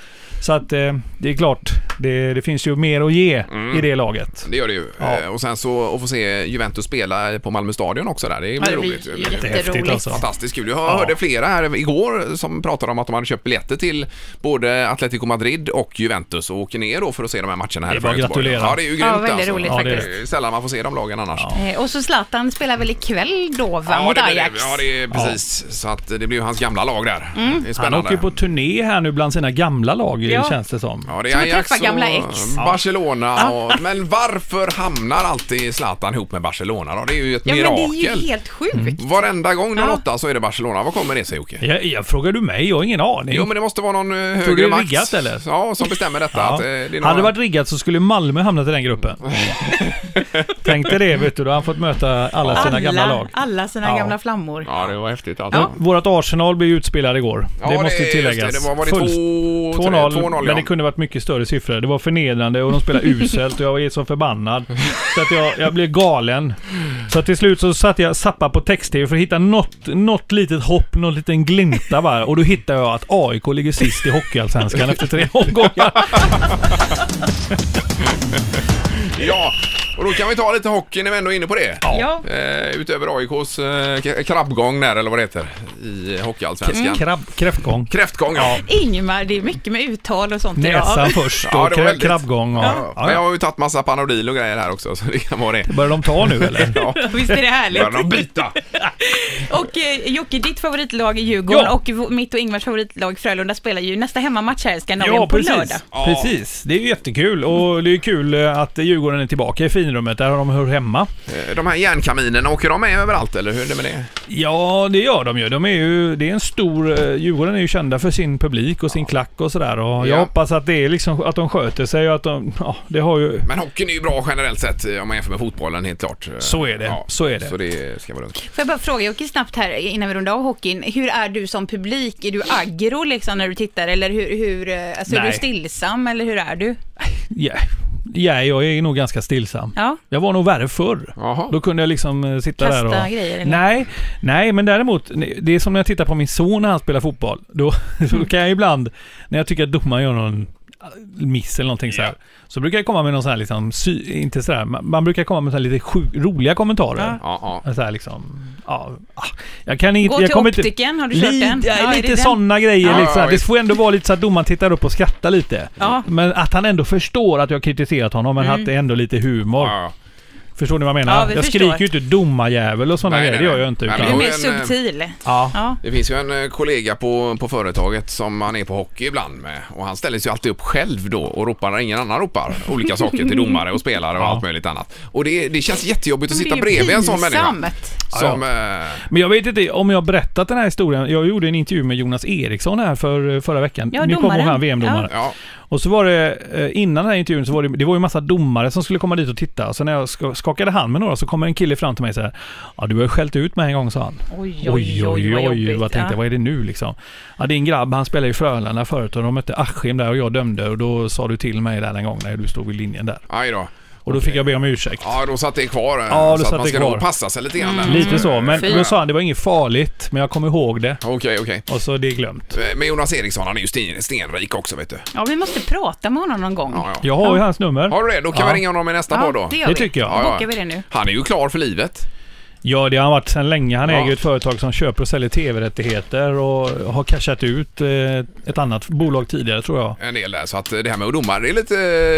[SPEAKER 8] Så att eh, det är klart, det, det finns ju mer att ge
[SPEAKER 6] Mm.
[SPEAKER 8] i det laget.
[SPEAKER 6] Det gör det ju.
[SPEAKER 8] Ja.
[SPEAKER 6] Eh, Och sen så att få se Juventus spela på Malmö Stadion också där, det blir roligt.
[SPEAKER 7] ju
[SPEAKER 6] Det blir
[SPEAKER 8] Jättehäftigt
[SPEAKER 7] jätteroligt.
[SPEAKER 8] alltså.
[SPEAKER 6] Fantastiskt kul. Jag hörde flera här igår som pratade om att de hade köpt biljetter till både Atletico Madrid och Juventus och åker ner då för att se de här matcherna här
[SPEAKER 8] Det är
[SPEAKER 6] i
[SPEAKER 8] bara att
[SPEAKER 6] Göteborg.
[SPEAKER 8] gratulera.
[SPEAKER 6] Ja, det är ju grymt
[SPEAKER 7] Ja, väldigt
[SPEAKER 6] alltså.
[SPEAKER 7] roligt
[SPEAKER 8] Ja, det är
[SPEAKER 7] faktiskt.
[SPEAKER 6] Det är sällan man får se de lagen annars.
[SPEAKER 7] Eh, Och så Zlatan spelar väl ikväll då va,
[SPEAKER 6] Ja,
[SPEAKER 7] mot
[SPEAKER 6] det blir det.
[SPEAKER 7] Ajax?
[SPEAKER 6] Ja, det är precis. Så att det blir ju hans gamla lag där. Det är
[SPEAKER 8] Han
[SPEAKER 6] spännande.
[SPEAKER 8] åker ju på turné här nu bland sina gamla lag,
[SPEAKER 7] Ja.
[SPEAKER 8] känns det som.
[SPEAKER 6] Ja, det
[SPEAKER 7] Som
[SPEAKER 6] är
[SPEAKER 7] att
[SPEAKER 6] Ajax
[SPEAKER 7] träffa
[SPEAKER 6] och
[SPEAKER 7] gamla ex.
[SPEAKER 6] Barcelona. Och, men varför hamnar alltid Zlatan ihop med Barcelona då? Det är ju ett
[SPEAKER 7] Ja, men det
[SPEAKER 6] mirakel. Mm.
[SPEAKER 7] är ju helt sjukt.
[SPEAKER 6] Varenda gång de
[SPEAKER 7] Ja.
[SPEAKER 6] lottar så är det Barcelona. Vad kommer det sig Jocke?
[SPEAKER 8] Jag, jag frågar du mig? Jag har ingen aning.
[SPEAKER 6] Jo men det måste vara någon eh,
[SPEAKER 8] Tror du
[SPEAKER 6] högre
[SPEAKER 8] det är
[SPEAKER 6] makt
[SPEAKER 8] riggat, eller?
[SPEAKER 6] Ja, som bestämmer detta.
[SPEAKER 8] Ja.
[SPEAKER 6] Att, eh, det är några...
[SPEAKER 8] Hade det varit riggat så skulle Malmö hamnat i den gruppen. Tänk dig det, vet du. Då har han fått möta alla sina gamla lag.
[SPEAKER 7] alla sina
[SPEAKER 8] Ja.
[SPEAKER 7] gamla flammor.
[SPEAKER 6] Ja, det var häftigt alltså.
[SPEAKER 8] Vårt Arsenal blev utspelade igår.
[SPEAKER 6] Ja,
[SPEAKER 8] det måste
[SPEAKER 6] just
[SPEAKER 8] tilläggas.
[SPEAKER 6] Det, det var, var det
[SPEAKER 8] Fullst-
[SPEAKER 6] 2-0?
[SPEAKER 8] 2-0,
[SPEAKER 6] 2-0
[SPEAKER 8] men det kunde varit mycket större siffror. Det var förnedrande och de spelade uselt och jag var så förbannad. Så att jag, jag blev galen. Så till slut så satt jag sappa på text-tv för att hitta något, något litet hopp, någon liten glimta bara. Och då hittade jag att AIK ligger sist i Hockeyallsvenskan efter tre omgångar.
[SPEAKER 6] Ja, och då kan vi ta lite hockey när vi ändå är inne på det.
[SPEAKER 7] Ja.
[SPEAKER 6] Eh, utöver AIKs eh, k- krabbgång där, eller vad det heter, i Hockeyallsvenskan.
[SPEAKER 7] Mm.
[SPEAKER 8] Krabb, kräftgång.
[SPEAKER 6] Kräftgång, ja.
[SPEAKER 7] Ingmar, det är mycket med uttal och sånt
[SPEAKER 8] Näsan
[SPEAKER 7] idag.
[SPEAKER 8] först och
[SPEAKER 6] Ja, det var
[SPEAKER 8] krä-
[SPEAKER 6] väldigt-
[SPEAKER 8] krabbgång. Och, ja.
[SPEAKER 6] Men jag har ju tagit massa Panodil och grejer här också, så det kan vara det.
[SPEAKER 8] Börjar de ta nu eller?
[SPEAKER 6] Ja,
[SPEAKER 7] Visst är det härligt?
[SPEAKER 6] börjar de byta?
[SPEAKER 7] Och eh, Jocke, ditt favoritlag är Djurgården
[SPEAKER 8] Ja.
[SPEAKER 7] och v- mitt och Ingvars favoritlag Frölunda spelar ju nästa hemmamatch här i Skandinavien på lördag.
[SPEAKER 6] Ja.
[SPEAKER 8] precis. Det är ju jättekul och det är ju kul eh, att Djurgården är tillbaka i finrummet där de hör hemma.
[SPEAKER 6] Eh, De här järnkaminerna, åker de med överallt eller hur är det med det?
[SPEAKER 8] Ja, det gör de ju. De är ju det är en stor... eh, Djurgården är ju kända för sin publik och sin klack och sådär. Och
[SPEAKER 6] Ja.
[SPEAKER 8] Jag hoppas att det är liksom att de sköter sig och att de... Ja, det har ju...
[SPEAKER 6] Men hockeyn är ju bra generellt sett eh, om man jämför med fotbollen helt klart. Eh,
[SPEAKER 8] Så är det, så är det.
[SPEAKER 6] Så det ska vara lugnt.
[SPEAKER 7] Får jag bara fråga Jocke snabbt här eh, innan vi rundar av hockeyn. Hur är du som publik? Är du aggro liksom när du tittar eller hur, hur eh, alltså är
[SPEAKER 8] Nej.
[SPEAKER 7] du stillsam eller hur är du?
[SPEAKER 8] Ja, ja, jag är nog ganska stillsam.
[SPEAKER 7] Ja.
[SPEAKER 8] Jag var nog värre förr.
[SPEAKER 6] Jaha.
[SPEAKER 8] Då kunde jag liksom eh, sitta
[SPEAKER 7] Kasta
[SPEAKER 8] där och...
[SPEAKER 7] grejer, eller?
[SPEAKER 8] Nej, nej, men däremot, det är som när jag tittar på min son när han spelar fotboll. Då,
[SPEAKER 7] Mm.
[SPEAKER 8] då kan jag ibland, när jag tycker att domaren gör någon miss eller någonting så här. Så brukar jag komma med någon sån här liksom, sy, inte sådär, man, man brukar komma med sån här lite sjuk, roliga kommentarer.
[SPEAKER 6] Ja, ja.
[SPEAKER 8] Så här liksom, ja, ah, jag kan inte...
[SPEAKER 7] Gå
[SPEAKER 8] jag
[SPEAKER 7] till
[SPEAKER 8] kommer inte-
[SPEAKER 7] optiken, har du kört
[SPEAKER 8] Lite-
[SPEAKER 7] den?
[SPEAKER 8] ja,
[SPEAKER 7] Ja, är det
[SPEAKER 8] lite
[SPEAKER 7] den?
[SPEAKER 8] sådana grejer.
[SPEAKER 6] Ja,
[SPEAKER 8] liksom.
[SPEAKER 6] ja,
[SPEAKER 8] det
[SPEAKER 6] visst.
[SPEAKER 8] får ändå vara lite så att domaren tittar upp och skrattar lite.
[SPEAKER 7] Ja. Mm.
[SPEAKER 8] Men att han ändå förstår att jag kritiserat honom, men att det är ändå lite humor.
[SPEAKER 6] Ja,
[SPEAKER 8] Förstår ni vad jag menar?
[SPEAKER 7] Ja, vi
[SPEAKER 8] jag
[SPEAKER 7] förstår.
[SPEAKER 8] skriker ju inte domarjävel och sådana
[SPEAKER 6] Nej,
[SPEAKER 8] grejer, det
[SPEAKER 6] nej,
[SPEAKER 8] gör jag
[SPEAKER 6] nej.
[SPEAKER 8] inte.
[SPEAKER 6] Nej,
[SPEAKER 8] Utan,
[SPEAKER 7] Du är mer
[SPEAKER 6] Och en, eh,
[SPEAKER 7] subtil.
[SPEAKER 8] ja.
[SPEAKER 7] Ja.
[SPEAKER 6] Det finns ju en eh, kollega på, på företaget som han är på hockey ibland med och han ställer sig ju alltid upp själv då och ropar när ingen annan ropar olika saker till domare och spelare och
[SPEAKER 8] Ja.
[SPEAKER 6] allt möjligt annat. Och det, det känns jättejobbigt att
[SPEAKER 7] Men det
[SPEAKER 6] sitta
[SPEAKER 7] är ju
[SPEAKER 6] bredvid en sån människa.
[SPEAKER 7] pinsamt.
[SPEAKER 6] Som, eh,
[SPEAKER 8] Men jag vet inte om jag har berättat den här historien. Jag gjorde en intervju med Jonas Eriksson här för, förra veckan.
[SPEAKER 7] Ja,
[SPEAKER 8] Ni kommer
[SPEAKER 7] domaren.
[SPEAKER 8] ihåg han VM-domare.
[SPEAKER 6] eh, ja,
[SPEAKER 8] Och så var det, eh, innan den här intervjun, så var det, det var ju massa domare som skulle komma dit och titta. Och så när jag sk- skakade hand med några så kommer en kille fram till mig och säger Ja, du har ju skällt ut mig en gång, sa han.
[SPEAKER 7] Oj, oj, oj, vad jobbigt.
[SPEAKER 8] vad tänkte jag,
[SPEAKER 7] Ja.
[SPEAKER 8] vad är det nu liksom? Ja, din grabb, han spelade i Frölunda förut och de mötte Askim där och jag dömde och då sa du till mig där en gång när du stod vid linjen där.
[SPEAKER 6] aj då.
[SPEAKER 8] Och då fick jag be om ursäkt.
[SPEAKER 6] Ja, då satt det kvar. eh,
[SPEAKER 8] Ja, då
[SPEAKER 6] så
[SPEAKER 8] satt
[SPEAKER 6] att man
[SPEAKER 8] det
[SPEAKER 6] ska
[SPEAKER 8] kvar. Mm.
[SPEAKER 6] nog passa sig lite grann. där.
[SPEAKER 7] Mm.
[SPEAKER 8] Lite så, men
[SPEAKER 7] Fy.
[SPEAKER 8] då sa han det var inget farligt, men jag kommer ihåg det.
[SPEAKER 6] Mm. Okej, okej.
[SPEAKER 8] Och så det är glömt.
[SPEAKER 6] Eh, Men Jonas Eriksson, han är ju sten, stenrik också vet du.
[SPEAKER 7] ja, vi måste prata med honom någon gång.
[SPEAKER 6] Ja, ja.
[SPEAKER 8] Jag har ju hans nummer.
[SPEAKER 6] Har du det? Då kan
[SPEAKER 8] Ja.
[SPEAKER 6] vi ringa honom i nästa
[SPEAKER 7] Ja,
[SPEAKER 6] podd då.
[SPEAKER 7] det gör
[SPEAKER 8] Det
[SPEAKER 7] vi.
[SPEAKER 8] tycker jag.
[SPEAKER 7] Då
[SPEAKER 6] Ja, ja.
[SPEAKER 7] bokar vi det nu.
[SPEAKER 6] Han är ju klar för livet.
[SPEAKER 8] Ja, det har han varit sedan länge. Han
[SPEAKER 6] Ja.
[SPEAKER 8] äger ett företag som köper och säljer tv-rättigheter och har cashat ut eh, ett annat bolag tidigare tror jag.
[SPEAKER 6] En del där, så att eh, det här med att domare det är lite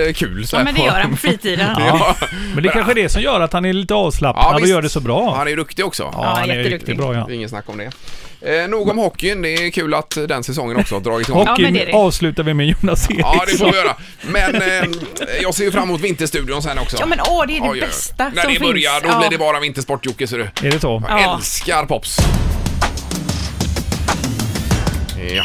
[SPEAKER 6] eh, kul. Så
[SPEAKER 7] Ja,
[SPEAKER 6] här
[SPEAKER 7] men det
[SPEAKER 6] på-
[SPEAKER 7] gör han på fritiden.
[SPEAKER 6] Ja.
[SPEAKER 8] Men det är kanske är det som gör att han är lite
[SPEAKER 6] Ja,
[SPEAKER 8] avslappnad och
[SPEAKER 6] visst.
[SPEAKER 8] gör det så bra.
[SPEAKER 6] Han är ju duktig också.
[SPEAKER 8] Ja,
[SPEAKER 7] Ja,
[SPEAKER 8] han är
[SPEAKER 7] jätteduktig.
[SPEAKER 8] riktigt bra ja.
[SPEAKER 6] Det är Ingen snack om det. Eh, nog om hockeyn. Det är kul att eh, den säsongen också har dragit igång.
[SPEAKER 7] Ja, men
[SPEAKER 8] Hockeyn
[SPEAKER 7] det är det.
[SPEAKER 8] avslutar vi med Jonas Eriksson.
[SPEAKER 6] Ja, det får vi göra. Men eh, jag ser ju fram emot Vinterstudion sen också.
[SPEAKER 7] Ja, men åh, det är det
[SPEAKER 6] Oj, oj, oj.
[SPEAKER 7] bästa
[SPEAKER 6] När
[SPEAKER 7] som
[SPEAKER 6] det börjar,
[SPEAKER 7] finns.
[SPEAKER 6] då blir
[SPEAKER 7] Ja.
[SPEAKER 6] det bara vintersport, Jocke, ser du.
[SPEAKER 8] Är det så?
[SPEAKER 6] Jag
[SPEAKER 7] Ja.
[SPEAKER 6] älskar Pops. Ja.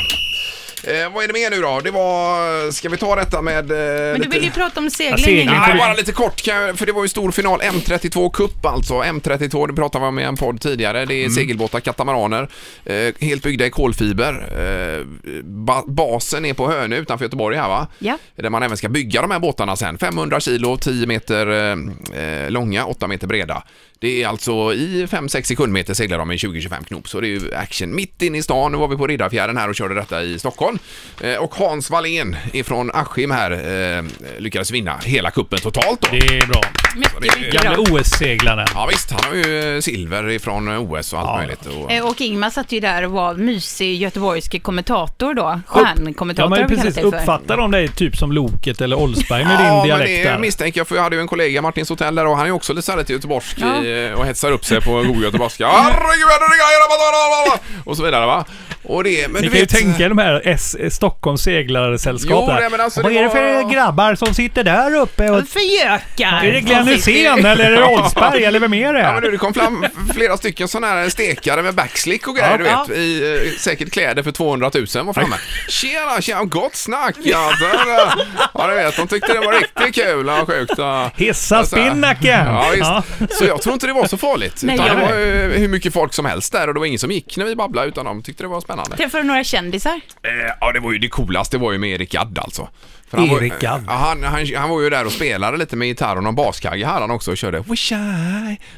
[SPEAKER 6] Eh, vad är det mer nu då? Det var... Ska vi ta detta med... Eh,
[SPEAKER 7] Men du
[SPEAKER 6] lite...
[SPEAKER 7] vill ju prata om segling.
[SPEAKER 8] segling.
[SPEAKER 7] Ingmar.
[SPEAKER 8] får
[SPEAKER 6] Nej,
[SPEAKER 8] du-
[SPEAKER 6] bara lite kort, kan jag- för det var ju stor final M32 Cup alltså. M32, det pratade vi om i en podd tidigare. Det är segelbåtar, katamaraner, eh, helt byggda i kolfiber. Eh, ba basen är på Hönö utanför Göteborg här va?
[SPEAKER 7] Ja.
[SPEAKER 6] Där man även ska bygga de här båtarna sen. 500 kilo, 10 meter eh, eh, långa, 8 meter breda. Det är alltså i 5-6 sekundmeter seglar de i 20-25 knop, så det är ju action mitt inne i stan. Nu var vi på Riddarfjärden här och körde detta i Stockholm. Eh, och Hans Wallén ifrån Askim här eh, lyckades vinna hela kuppen totalt då.
[SPEAKER 8] Det är bra.
[SPEAKER 7] Mycket, mycket
[SPEAKER 8] Gamla
[SPEAKER 7] bra.
[SPEAKER 8] OS-seglaren.
[SPEAKER 6] Ja visst, han har ju eh, silver ifrån eh, OS och allt möjligt. Och...
[SPEAKER 7] Eh, Och Ingmar satt ju där och var mysig göteborgsk kommentator då. Stjärnkommentator
[SPEAKER 8] ja, men
[SPEAKER 7] har vi kallat
[SPEAKER 8] precis.
[SPEAKER 7] dig för.
[SPEAKER 8] Uppfattar de dig typ som Loket eller Oldsberg med din
[SPEAKER 6] Ja, men
[SPEAKER 8] dialekt
[SPEAKER 6] det
[SPEAKER 8] där?
[SPEAKER 6] misstänker jag för jag hade ju en kollega, Martin Sotell där och han är ju också lite såhär lite göteborgsk
[SPEAKER 7] Ja.
[SPEAKER 6] i, eh, och hetsar upp sig på god göteborgska. Herregud, herregud, herregud, herregud, Och så vidare va. Och det, men
[SPEAKER 8] Ni
[SPEAKER 6] du
[SPEAKER 8] kan ju
[SPEAKER 6] vet...
[SPEAKER 8] tänka er de här S- Stockholms seglarsällskap
[SPEAKER 6] Jo, nej, men
[SPEAKER 8] där.
[SPEAKER 6] alltså,
[SPEAKER 8] Vad
[SPEAKER 6] det
[SPEAKER 8] är det för
[SPEAKER 6] var-
[SPEAKER 8] grabbar som sitter där uppe? Och...
[SPEAKER 7] För gökar!
[SPEAKER 8] Är det Glenn Hysén eller är det Oldsberg eller vem är det?
[SPEAKER 6] Ja, men du, det kom fram flera stycken sådana här stekare med backslick och grejer, du vet.
[SPEAKER 7] Ja.
[SPEAKER 6] I, eh, säkert kläder för 200 000 var framme. Tjena, tjena, gott snack! Ja, där, eh, ja, du vet, de tyckte det var riktigt kul. Ja, sjukt. ja.
[SPEAKER 8] Hissa
[SPEAKER 6] Alltså,
[SPEAKER 8] spinnaken!
[SPEAKER 6] Ja, visst.
[SPEAKER 8] Ja.
[SPEAKER 6] Så jag tror inte det var så farligt.
[SPEAKER 7] Nej,
[SPEAKER 6] utan
[SPEAKER 7] jag
[SPEAKER 6] det var ju hur mycket folk som helst där och det var ingen som gick när vi babblade utan de tyckte det var spännande.
[SPEAKER 7] Träffade du några kändisar?
[SPEAKER 6] Eh, ja, det var ju det coolaste var ju med Erik Gadd alltså. För var,
[SPEAKER 8] Erik Gadd.
[SPEAKER 6] Ja, han, han, han var ju där och spelade lite med gitarr och någon baskagge hade han också och körde Wish I...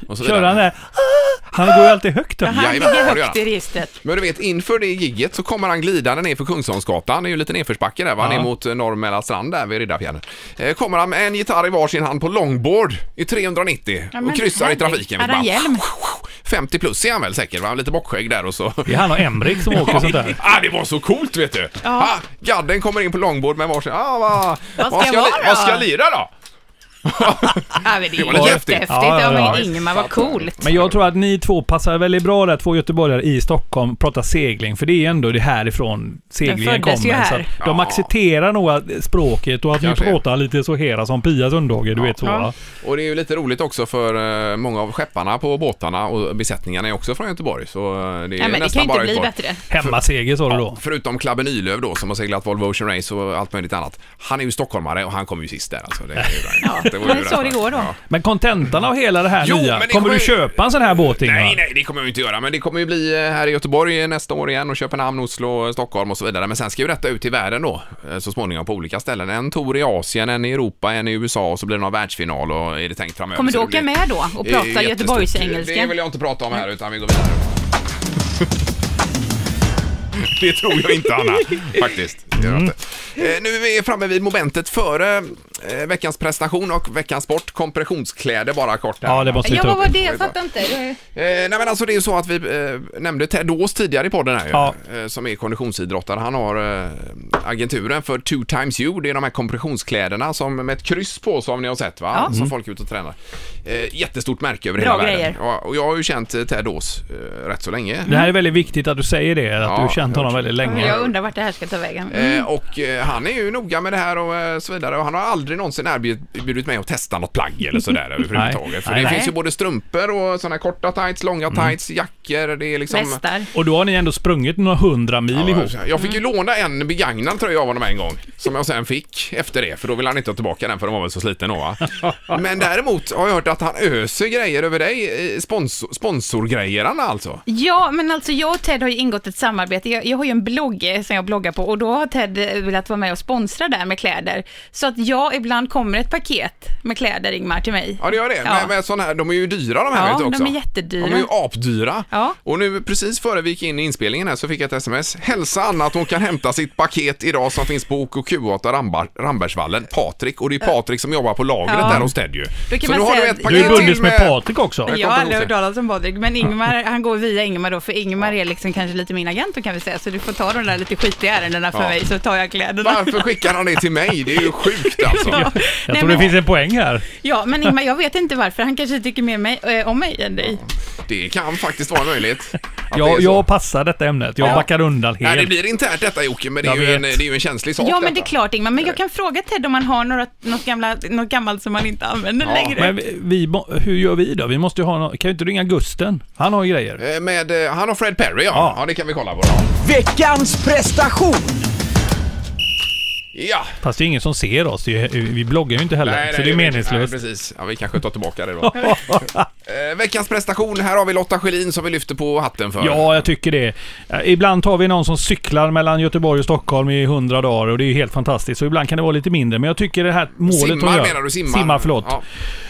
[SPEAKER 6] Och så
[SPEAKER 8] Kör
[SPEAKER 6] vidare.
[SPEAKER 8] han det? Han går ju alltid högt upp.
[SPEAKER 7] Han
[SPEAKER 6] Jajamän, det
[SPEAKER 7] ligger
[SPEAKER 6] har det
[SPEAKER 7] högt i registret.
[SPEAKER 6] Men du vet, inför det gigget så kommer han glidande ner för Kungsholmsgatan. Det är ju lite nedförsbacke där, va? ner mot eh, norr Mälarstrand där vid Riddarfjärden. Eh, kommer han med en gitarr i varsin hand på longboard i 390
[SPEAKER 7] Ja, men
[SPEAKER 6] och kryssar i
[SPEAKER 7] herregud.
[SPEAKER 6] trafiken.
[SPEAKER 7] Hade han
[SPEAKER 6] Bara-
[SPEAKER 7] hjälm?
[SPEAKER 6] 50 plus är han väl säkert, va? lite bockskägg där och så.
[SPEAKER 8] Det är han och Emrik som åker sånt där.
[SPEAKER 6] Ah, det var så coolt vet du! Ah, gadden kommer in på långbord med varsin... Ah, va,
[SPEAKER 7] Vad ska jag
[SPEAKER 6] li-
[SPEAKER 7] vara då?
[SPEAKER 6] vad ska jag lira då?
[SPEAKER 7] Ja, men det
[SPEAKER 6] Det var lite
[SPEAKER 7] är jättehäftigt.
[SPEAKER 6] häftigt.
[SPEAKER 8] Ja,
[SPEAKER 7] Ja,
[SPEAKER 8] ja, ja,
[SPEAKER 7] men
[SPEAKER 6] visst.
[SPEAKER 7] Ingmar, vad coolt.
[SPEAKER 8] Men jag tror att ni två passar väldigt bra där, två göteborgare i Stockholm, pratar segling. För det är ju ändå det härifrån seglingen
[SPEAKER 7] Den
[SPEAKER 8] kommer.
[SPEAKER 7] föddes ju
[SPEAKER 8] Så
[SPEAKER 7] här.
[SPEAKER 8] att de
[SPEAKER 6] Ja.
[SPEAKER 8] accepterar nog att- språket och att ni
[SPEAKER 6] Kanske.
[SPEAKER 8] pratar lite så hera som Pias underdåge, du vet så va?
[SPEAKER 6] Och det är ju lite roligt också för eh, många av skepparna på båtarna och besättningarna är också från Göteborg så eh, det är
[SPEAKER 7] Nej, men det kan
[SPEAKER 6] nästan
[SPEAKER 7] ju inte
[SPEAKER 6] bara
[SPEAKER 7] bli
[SPEAKER 6] Göteborg.
[SPEAKER 7] bättre.
[SPEAKER 8] Hemmaseger sa du då.
[SPEAKER 6] Förutom Clabbe Nylöf då som har seglat Volvo Ocean Race och allt möjligt annat. Han är ju stockholmare och han kom ju sist där alltså. Det, ja,
[SPEAKER 7] men så det går då.
[SPEAKER 8] Men kontentan av hela det här
[SPEAKER 6] Jo,
[SPEAKER 8] nya,
[SPEAKER 6] men det
[SPEAKER 8] kommer
[SPEAKER 6] kommer
[SPEAKER 8] du
[SPEAKER 6] ju-
[SPEAKER 8] köpa en sån här båt Ingvar?
[SPEAKER 6] Nej, nej, det kommer jag ju inte göra. Men det kommer ju bli eh, här i Göteborg nästa år igen och Köpenhamn, Oslo, Stockholm och så vidare. Men sen ska ju detta ut i världen då eh, så småningom på olika ställen. En tour i Asien, en i Europa, en i USA och så blir det någon världsfinal och är det tänkt framöver.
[SPEAKER 7] Kommer du
[SPEAKER 6] Så det
[SPEAKER 7] åka
[SPEAKER 6] blir-
[SPEAKER 7] med då och
[SPEAKER 6] Det är
[SPEAKER 7] prata
[SPEAKER 6] jättestort. Det
[SPEAKER 7] göteborgsengelska?
[SPEAKER 6] vill jag inte prata om här utan vi går vidare. Det tror jag inte Anna, faktiskt. Det gör jag inte. Eh, Nu är vi framme vid momentet före eh, veckans prestation och veckans sport. Kompressionskläder bara kort här.
[SPEAKER 8] Ja, det måste vi
[SPEAKER 7] Ja,
[SPEAKER 8] ta
[SPEAKER 7] vad var
[SPEAKER 8] upp.
[SPEAKER 7] det? Jag fattar inte. Det-
[SPEAKER 6] Eh, nej men alltså det är ju så att vi eh, nämnde Ted Ås tidigare i podden här ju,
[SPEAKER 8] Ja.
[SPEAKER 6] eh, som är konditionsidrottare. Han har eh, agenturen för Two Times You, det är de här kompressionskläderna som med ett kryss på som ni har sett va? Som
[SPEAKER 8] Mm.
[SPEAKER 6] folk är ute och tränar. Eh, jättestort märke över
[SPEAKER 7] Bra
[SPEAKER 6] hela världen.
[SPEAKER 7] grejer.
[SPEAKER 6] Ja, och jag har ju känt eh, Ted Ås eh, rätt så länge.
[SPEAKER 8] Det här är väldigt viktigt att du säger det, att
[SPEAKER 6] Ja,
[SPEAKER 8] du har känt honom väldigt länge.
[SPEAKER 7] Jag undrar vart det här ska ta vägen. Mm.
[SPEAKER 6] Eh, och eh, han är ju noga med det här och eh, så vidare och han har aldrig någonsin erbjudit mig att testa något plagg eller sådär överhuvudtaget. För
[SPEAKER 8] Nej,
[SPEAKER 6] det
[SPEAKER 8] nej. Mm.
[SPEAKER 6] finns ju både strumpor och sådana här korta tights, långa tights, jackor, det är liksom...
[SPEAKER 7] Västar.
[SPEAKER 8] Och då har ni ändå sprungit några hundra mil
[SPEAKER 6] Ja,
[SPEAKER 8] ihop.
[SPEAKER 6] jag- Jag fick ju
[SPEAKER 7] Mm.
[SPEAKER 6] låna en begagnad tröja av honom en gång, som jag sen fick efter det, för då ville han inte ha tillbaka den för den var väl så sliten då va. Men däremot har jag hört att han öser grejer över dig, eh, sponsor, sponsorgrejerna alltså.
[SPEAKER 7] Ja, men alltså jag och Ted har ju ingått ett samarbete. Jag, jag har ju en blogg eh, som jag bloggar på och då har Ted eh, velat vara med och sponsra där med kläder. Så att jag ibland kommer ett paket med kläder, Ingmar, till mig.
[SPEAKER 6] Ja det gör det,
[SPEAKER 7] Ja.
[SPEAKER 6] men, men sån här, de är ju dyra de här
[SPEAKER 7] Ja,
[SPEAKER 6] vet du
[SPEAKER 7] de
[SPEAKER 6] också.
[SPEAKER 7] är jättedyra.
[SPEAKER 6] De är ju apdyra.
[SPEAKER 7] Ja.
[SPEAKER 6] Och nu precis före vi gick in i inspelningen här så fick jag ett sms. Hälsa Anna att hon kan hämta sitt paket idag som finns på OKQ8 Rambar, Rambergsvallen, Patrik. Och det är Patrik som jobbar på lagret
[SPEAKER 7] Ja.
[SPEAKER 6] där hos Ted ju.
[SPEAKER 7] Då kan
[SPEAKER 6] så
[SPEAKER 7] man
[SPEAKER 6] nu har
[SPEAKER 7] säga
[SPEAKER 6] du
[SPEAKER 7] att-
[SPEAKER 6] ett
[SPEAKER 7] Du är
[SPEAKER 8] Du är
[SPEAKER 6] paket
[SPEAKER 8] bundis
[SPEAKER 6] till
[SPEAKER 8] med Patrik också.
[SPEAKER 6] Jag
[SPEAKER 7] Jag
[SPEAKER 6] kommer
[SPEAKER 7] har
[SPEAKER 6] inte
[SPEAKER 7] aldrig
[SPEAKER 6] ihåg
[SPEAKER 7] hört talas om Patrik, men Ingmar, han går via Ingmar då, för Ingmar är liksom kanske lite min agent då kan vi säga, så du får ta de där lite skitiga ärendena för
[SPEAKER 6] Ja.
[SPEAKER 7] mig, så tar jag kläderna.
[SPEAKER 6] Varför skickar han det till mig? Det är ju sjukt alltså.
[SPEAKER 8] Jag
[SPEAKER 7] Nej,
[SPEAKER 8] tror det
[SPEAKER 7] men,
[SPEAKER 8] finns en poäng här.
[SPEAKER 7] Ja, men Ingmar, jag vet inte varför, han kanske tycker mer mig, eh, om mig än dig.
[SPEAKER 6] Det kan faktiskt vara möjligt. att det är
[SPEAKER 8] Jag,
[SPEAKER 6] så.
[SPEAKER 8] jag passar detta ämnet. Jag
[SPEAKER 6] Ja.
[SPEAKER 8] backar undan
[SPEAKER 6] Nej, det
[SPEAKER 8] helt.
[SPEAKER 6] blir internt detta Jocke, men det är,
[SPEAKER 8] Jag
[SPEAKER 6] ju en, det
[SPEAKER 8] vet.
[SPEAKER 6] är ju en känslig sak
[SPEAKER 7] Ja, men det är
[SPEAKER 6] detta.
[SPEAKER 7] klart Ingmar, men jag kan fråga Ted om han har några, något, gamla, något gammalt som han inte använder
[SPEAKER 6] Ja,
[SPEAKER 7] längre.
[SPEAKER 8] Men vi, vi, må- hur gör vi då? Vi måste ju ha någon, Kan ju inte ringa Gusten? Han har ju grejer.
[SPEAKER 6] Eh, Med, eh, han och Fred Perry ja. ja.
[SPEAKER 8] Ja.
[SPEAKER 6] det kan vi kolla på. Då.
[SPEAKER 5] Veckans prestation!
[SPEAKER 6] Ja.
[SPEAKER 8] Fast det är ingen som ser oss. Det är, ju- vi bloggar ju inte heller.
[SPEAKER 6] Nej, nej,
[SPEAKER 8] så det är
[SPEAKER 6] vi-
[SPEAKER 8] meningslöst.
[SPEAKER 6] Nej, precis. Ja, vi kanske tar tillbaka det då. eh, veckans prestation, här har vi Lotta Schelin som vi lyfter på hatten för.
[SPEAKER 8] Ja, jag tycker det. Eh, Ibland tar vi någon som cyklar mellan Göteborg och Stockholm i 100 dagar och det är ju helt fantastiskt. Så ibland kan det vara lite mindre. Men jag tycker det här målet
[SPEAKER 6] Simmar
[SPEAKER 8] hon gör...
[SPEAKER 6] menar du? Simmar?
[SPEAKER 8] Simmar, förlåt.
[SPEAKER 6] Ja.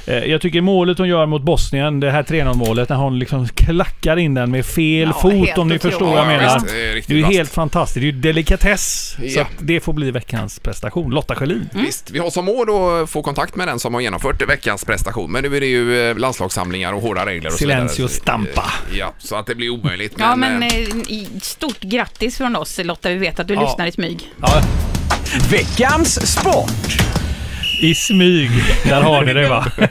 [SPEAKER 8] Eh, Jag tycker målet hon gör mot Bosnien, det här 3-0 målet, när hon liksom klackar in den med fel
[SPEAKER 7] Ja,
[SPEAKER 8] fot
[SPEAKER 7] helt
[SPEAKER 8] om ni
[SPEAKER 7] otroligt.
[SPEAKER 8] förstår vad jag
[SPEAKER 6] Ja,
[SPEAKER 8] menar.
[SPEAKER 6] visst, det är riktigt
[SPEAKER 8] det är ju
[SPEAKER 6] vasst.
[SPEAKER 8] helt fantastiskt. Det är ju delikatess. Så
[SPEAKER 6] Ja.
[SPEAKER 8] att det får bli veckans prestation. Lotta Schelin.
[SPEAKER 7] Mm.
[SPEAKER 6] Visst, vi har som mål att få kontakt med den som har genomfört veckans prestation. Men nu är det ju eh, landslagssamlingar och hårda regler och så
[SPEAKER 8] Silencio
[SPEAKER 6] vidare.
[SPEAKER 8] stampa.
[SPEAKER 6] Ja, så att det blir omöjligt.
[SPEAKER 7] Ja,
[SPEAKER 6] men,
[SPEAKER 7] men
[SPEAKER 6] eh,
[SPEAKER 7] eh, stort grattis från oss Lotta, vi vet att du
[SPEAKER 8] Ja.
[SPEAKER 7] lyssnar i smyg.
[SPEAKER 8] Ja,
[SPEAKER 5] Veckans sport!
[SPEAKER 8] I smyg. Där har ni det va? Vi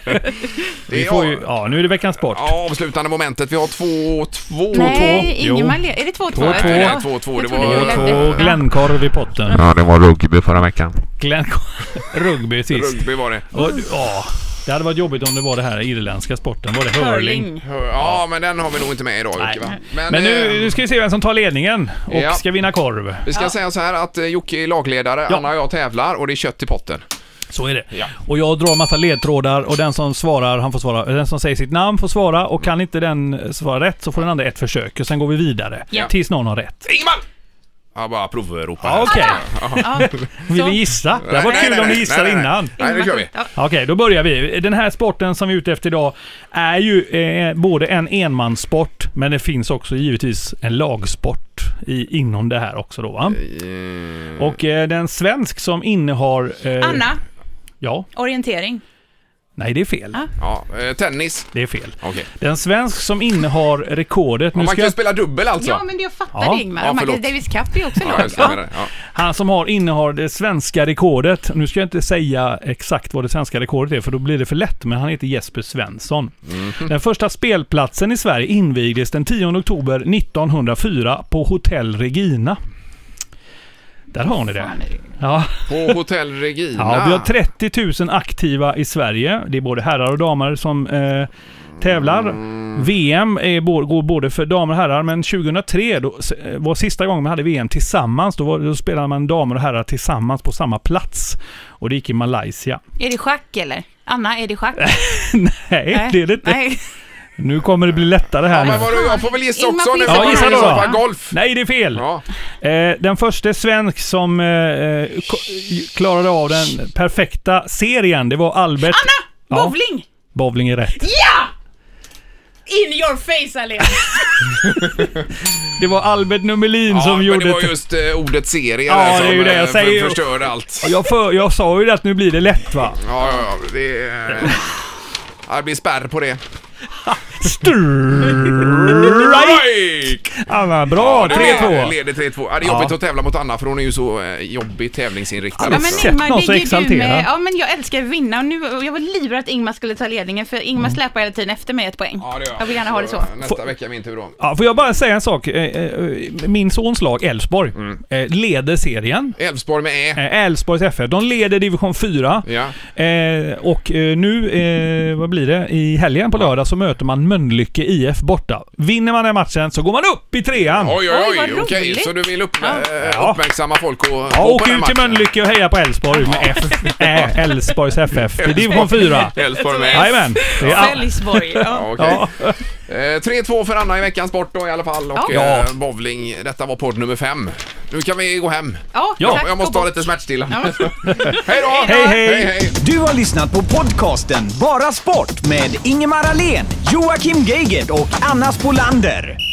[SPEAKER 6] det är
[SPEAKER 8] får ju, ja, nu är det veckans sport.
[SPEAKER 6] Ja, avslutande momentet. Vi har 2-2. Två, två.
[SPEAKER 7] Nej,
[SPEAKER 8] Jo.
[SPEAKER 7] Eh, Ingemar, le- är det 2-2?
[SPEAKER 8] Två, två.
[SPEAKER 6] Nej, två, två, det var-
[SPEAKER 8] Och två Glenkorv i potten.
[SPEAKER 9] Ja, det var rugby förra veckan.
[SPEAKER 8] Glenkorv. Rugby sist.
[SPEAKER 6] Rugby var det.
[SPEAKER 8] Och, ja, det hade varit jobbigt om det var det här irländska sporten. Var det hurling?
[SPEAKER 7] Curling.
[SPEAKER 6] Ja, men den har vi nog inte med idag
[SPEAKER 8] Nej.
[SPEAKER 6] Jocke, va?
[SPEAKER 8] Men, nu,
[SPEAKER 6] eh,
[SPEAKER 8] nu ska vi se vem som tar ledningen och
[SPEAKER 6] Ja.
[SPEAKER 8] ska vinna korv.
[SPEAKER 6] Vi ska säga så här att eh, Jocke är lagledare,
[SPEAKER 8] Ja.
[SPEAKER 6] Anna och jag tävlar och det är kött i potten.
[SPEAKER 8] Så är det. Och jag drar massa ledtrådar och den som svarar, han får svara. Den som säger sitt namn får svara och kan inte den svara rätt så får den andra ett försök och sen går vi vidare.
[SPEAKER 7] Ja.
[SPEAKER 8] Tills någon har rätt.
[SPEAKER 6] Ingemar! Jag bara provropar.
[SPEAKER 8] Ja,
[SPEAKER 6] här.
[SPEAKER 8] Okej,
[SPEAKER 7] Ja,
[SPEAKER 8] vill
[SPEAKER 7] så.
[SPEAKER 8] ni gissa? Det
[SPEAKER 6] Nej,
[SPEAKER 8] var
[SPEAKER 6] nej,
[SPEAKER 8] kul
[SPEAKER 6] nej,
[SPEAKER 8] om ni
[SPEAKER 6] nej,
[SPEAKER 8] gissar
[SPEAKER 6] nej, nej, nej.
[SPEAKER 8] innan.
[SPEAKER 6] Nej, nu kör vi.
[SPEAKER 7] Ja.
[SPEAKER 8] Okej, då börjar vi. Den här sporten som vi är ute efter idag är ju eh, både en enmanssport, men det finns också givetvis en lagsport i, inom det här också då va? Och eh, den svensk som innehar... Eh,
[SPEAKER 7] Anna,
[SPEAKER 8] Ja.
[SPEAKER 7] orientering.
[SPEAKER 8] Nej, det är fel.
[SPEAKER 7] Ah.
[SPEAKER 6] Ja, eh, tennis.
[SPEAKER 8] Det är fel.
[SPEAKER 6] Okej.
[SPEAKER 8] Den svensk som innehar rekordet... Nu
[SPEAKER 6] Man
[SPEAKER 8] ska
[SPEAKER 6] kan ju
[SPEAKER 8] jag,
[SPEAKER 6] spela dubbel alltså.
[SPEAKER 7] Ja, men det jag fattar
[SPEAKER 8] Ja.
[SPEAKER 7] det, Ingmar.
[SPEAKER 6] Ja,
[SPEAKER 7] Ja,
[SPEAKER 6] förlåt.
[SPEAKER 7] Marcus Davis Cup är ju också
[SPEAKER 6] Ja,
[SPEAKER 7] lag.
[SPEAKER 6] just det, jag menar det. ja.
[SPEAKER 8] han som har innehar det svenska rekordet. Nu ska jag inte säga exakt vad det svenska rekordet är, för då blir det för lätt. Men han heter Jesper Svensson.
[SPEAKER 7] Mhm.
[SPEAKER 8] Den första spelplatsen i Sverige invigdes den 10 oktober 1904 på Hotell Regina. Där har ni det.
[SPEAKER 7] Fan, är det-
[SPEAKER 8] Ja.
[SPEAKER 6] På Hotell Regina.
[SPEAKER 8] Ja, vi har 30 000 aktiva i Sverige. Det är både herrar och damer som eh, tävlar.
[SPEAKER 6] Mm.
[SPEAKER 8] VM är, bo- går både för damer och herrar, men 2003 då, s- eh, var sista gången man hade VM tillsammans. Då, var, då spelade man damer och herrar tillsammans på samma plats. Och det gick i Malaysia.
[SPEAKER 7] Är det schack eller? Anna, är det schack?
[SPEAKER 8] Nej, det är det inte.
[SPEAKER 7] Nej.
[SPEAKER 8] Nu kommer det bli lättare här
[SPEAKER 6] Men
[SPEAKER 8] nu.
[SPEAKER 6] vadå, jag får väl gissa
[SPEAKER 7] Ingmar
[SPEAKER 6] också.
[SPEAKER 7] får
[SPEAKER 6] Nu
[SPEAKER 7] gissa
[SPEAKER 6] får
[SPEAKER 8] Ja, gissa
[SPEAKER 6] man väl
[SPEAKER 8] då.
[SPEAKER 6] gissa på golf.
[SPEAKER 8] Nej, det är fel.
[SPEAKER 6] Ja.
[SPEAKER 8] Eh, den första svensk som eh, eh, ko- klarade av den perfekta serien, det var Albert...
[SPEAKER 7] Anna!
[SPEAKER 8] Ja,
[SPEAKER 7] Bowling!
[SPEAKER 8] bowling är rätt.
[SPEAKER 7] Ja! In your face Alén!
[SPEAKER 8] Det var Albert Nummelin
[SPEAKER 6] Ja,
[SPEAKER 8] som
[SPEAKER 6] men
[SPEAKER 8] gjorde...
[SPEAKER 6] det var
[SPEAKER 8] ett-
[SPEAKER 6] just eh, ordet serie
[SPEAKER 8] Ja,
[SPEAKER 6] där
[SPEAKER 8] det är
[SPEAKER 6] som
[SPEAKER 8] ju det jag
[SPEAKER 6] eh, för-
[SPEAKER 8] säger.
[SPEAKER 6] förstörde allt. Ja,
[SPEAKER 8] jag, för, jag sa ju det att nu blir det lätt va?
[SPEAKER 6] ja, ja. Det, eh, ja, det blir spärr på det.
[SPEAKER 8] Strike!
[SPEAKER 6] Right!
[SPEAKER 8] Anna, bra!
[SPEAKER 6] Ja, det
[SPEAKER 8] 3-2.
[SPEAKER 6] Leder 3-2. Ja, det är jobbigt att tävla mot Anna för hon är ju så eh, jobbig tävlingsinriktad.
[SPEAKER 8] Ja,
[SPEAKER 7] Ja,
[SPEAKER 8] men
[SPEAKER 7] men
[SPEAKER 8] sett
[SPEAKER 7] Ingmar,
[SPEAKER 8] någon så
[SPEAKER 7] det är ju du
[SPEAKER 8] exalterad.
[SPEAKER 7] med. Ja, men jag älskar att vinna och nu, och jag var livrädd att Ingmar skulle ta ledningen för
[SPEAKER 8] Mm.
[SPEAKER 7] Ingmar släpar hela tiden efter mig ett poäng.
[SPEAKER 6] Ja, det gör eh,
[SPEAKER 7] jag vill gärna ha det så.
[SPEAKER 6] Nästa vecka är min tur då.
[SPEAKER 8] Ja, får jag bara säga en sak? Eh, eh, Min sons lag, Elfsborg,
[SPEAKER 6] Mm.
[SPEAKER 8] eh, leder serien.
[SPEAKER 6] Elfsborg med E. Ä.
[SPEAKER 8] Eh, Elfsborgs FF, de leder division 4.
[SPEAKER 6] Ja.
[SPEAKER 8] Eh, och eh, nu, eh, vad blir det? I helgen på lördag så möter man Mölnlycke IF borta. Vinner man den matchen så går man upp i trean!
[SPEAKER 6] Oj, oj,
[SPEAKER 7] Oj,
[SPEAKER 6] oj.
[SPEAKER 7] vad
[SPEAKER 6] Okej,
[SPEAKER 7] roligt.
[SPEAKER 6] så du vill upp, eh,
[SPEAKER 8] Ja.
[SPEAKER 6] uppmärksamma folk och
[SPEAKER 8] Ja,
[SPEAKER 6] gå på
[SPEAKER 8] åk
[SPEAKER 6] den
[SPEAKER 8] ut till
[SPEAKER 6] matchen.
[SPEAKER 8] Mölnlycke och heja på Elfsborg med F. Äh, Elfsborgs FF. Det är division 4.
[SPEAKER 6] Elfsborg med E. Ä.
[SPEAKER 8] Jajamän. Det är all-
[SPEAKER 7] Sölvesborg. Ja.
[SPEAKER 6] Ja, okej.
[SPEAKER 8] Ja.
[SPEAKER 6] Eh, 3-2 för Anna i veckans sport då i alla fall och
[SPEAKER 8] Ja.
[SPEAKER 6] eh, bowling. Detta var podd nummer fem. Nu kan vi gå hem.
[SPEAKER 7] Ja,
[SPEAKER 8] Ja,
[SPEAKER 7] tack,
[SPEAKER 6] Jag måste
[SPEAKER 7] gå
[SPEAKER 6] ha
[SPEAKER 7] bort.
[SPEAKER 6] lite smärtstillande. hej då!
[SPEAKER 8] Hej, hej.
[SPEAKER 6] hej.
[SPEAKER 5] Du har lyssnat på podcasten Bara Sport med Ingemar Ahlén, Joakim Geigert och Anna Spolander.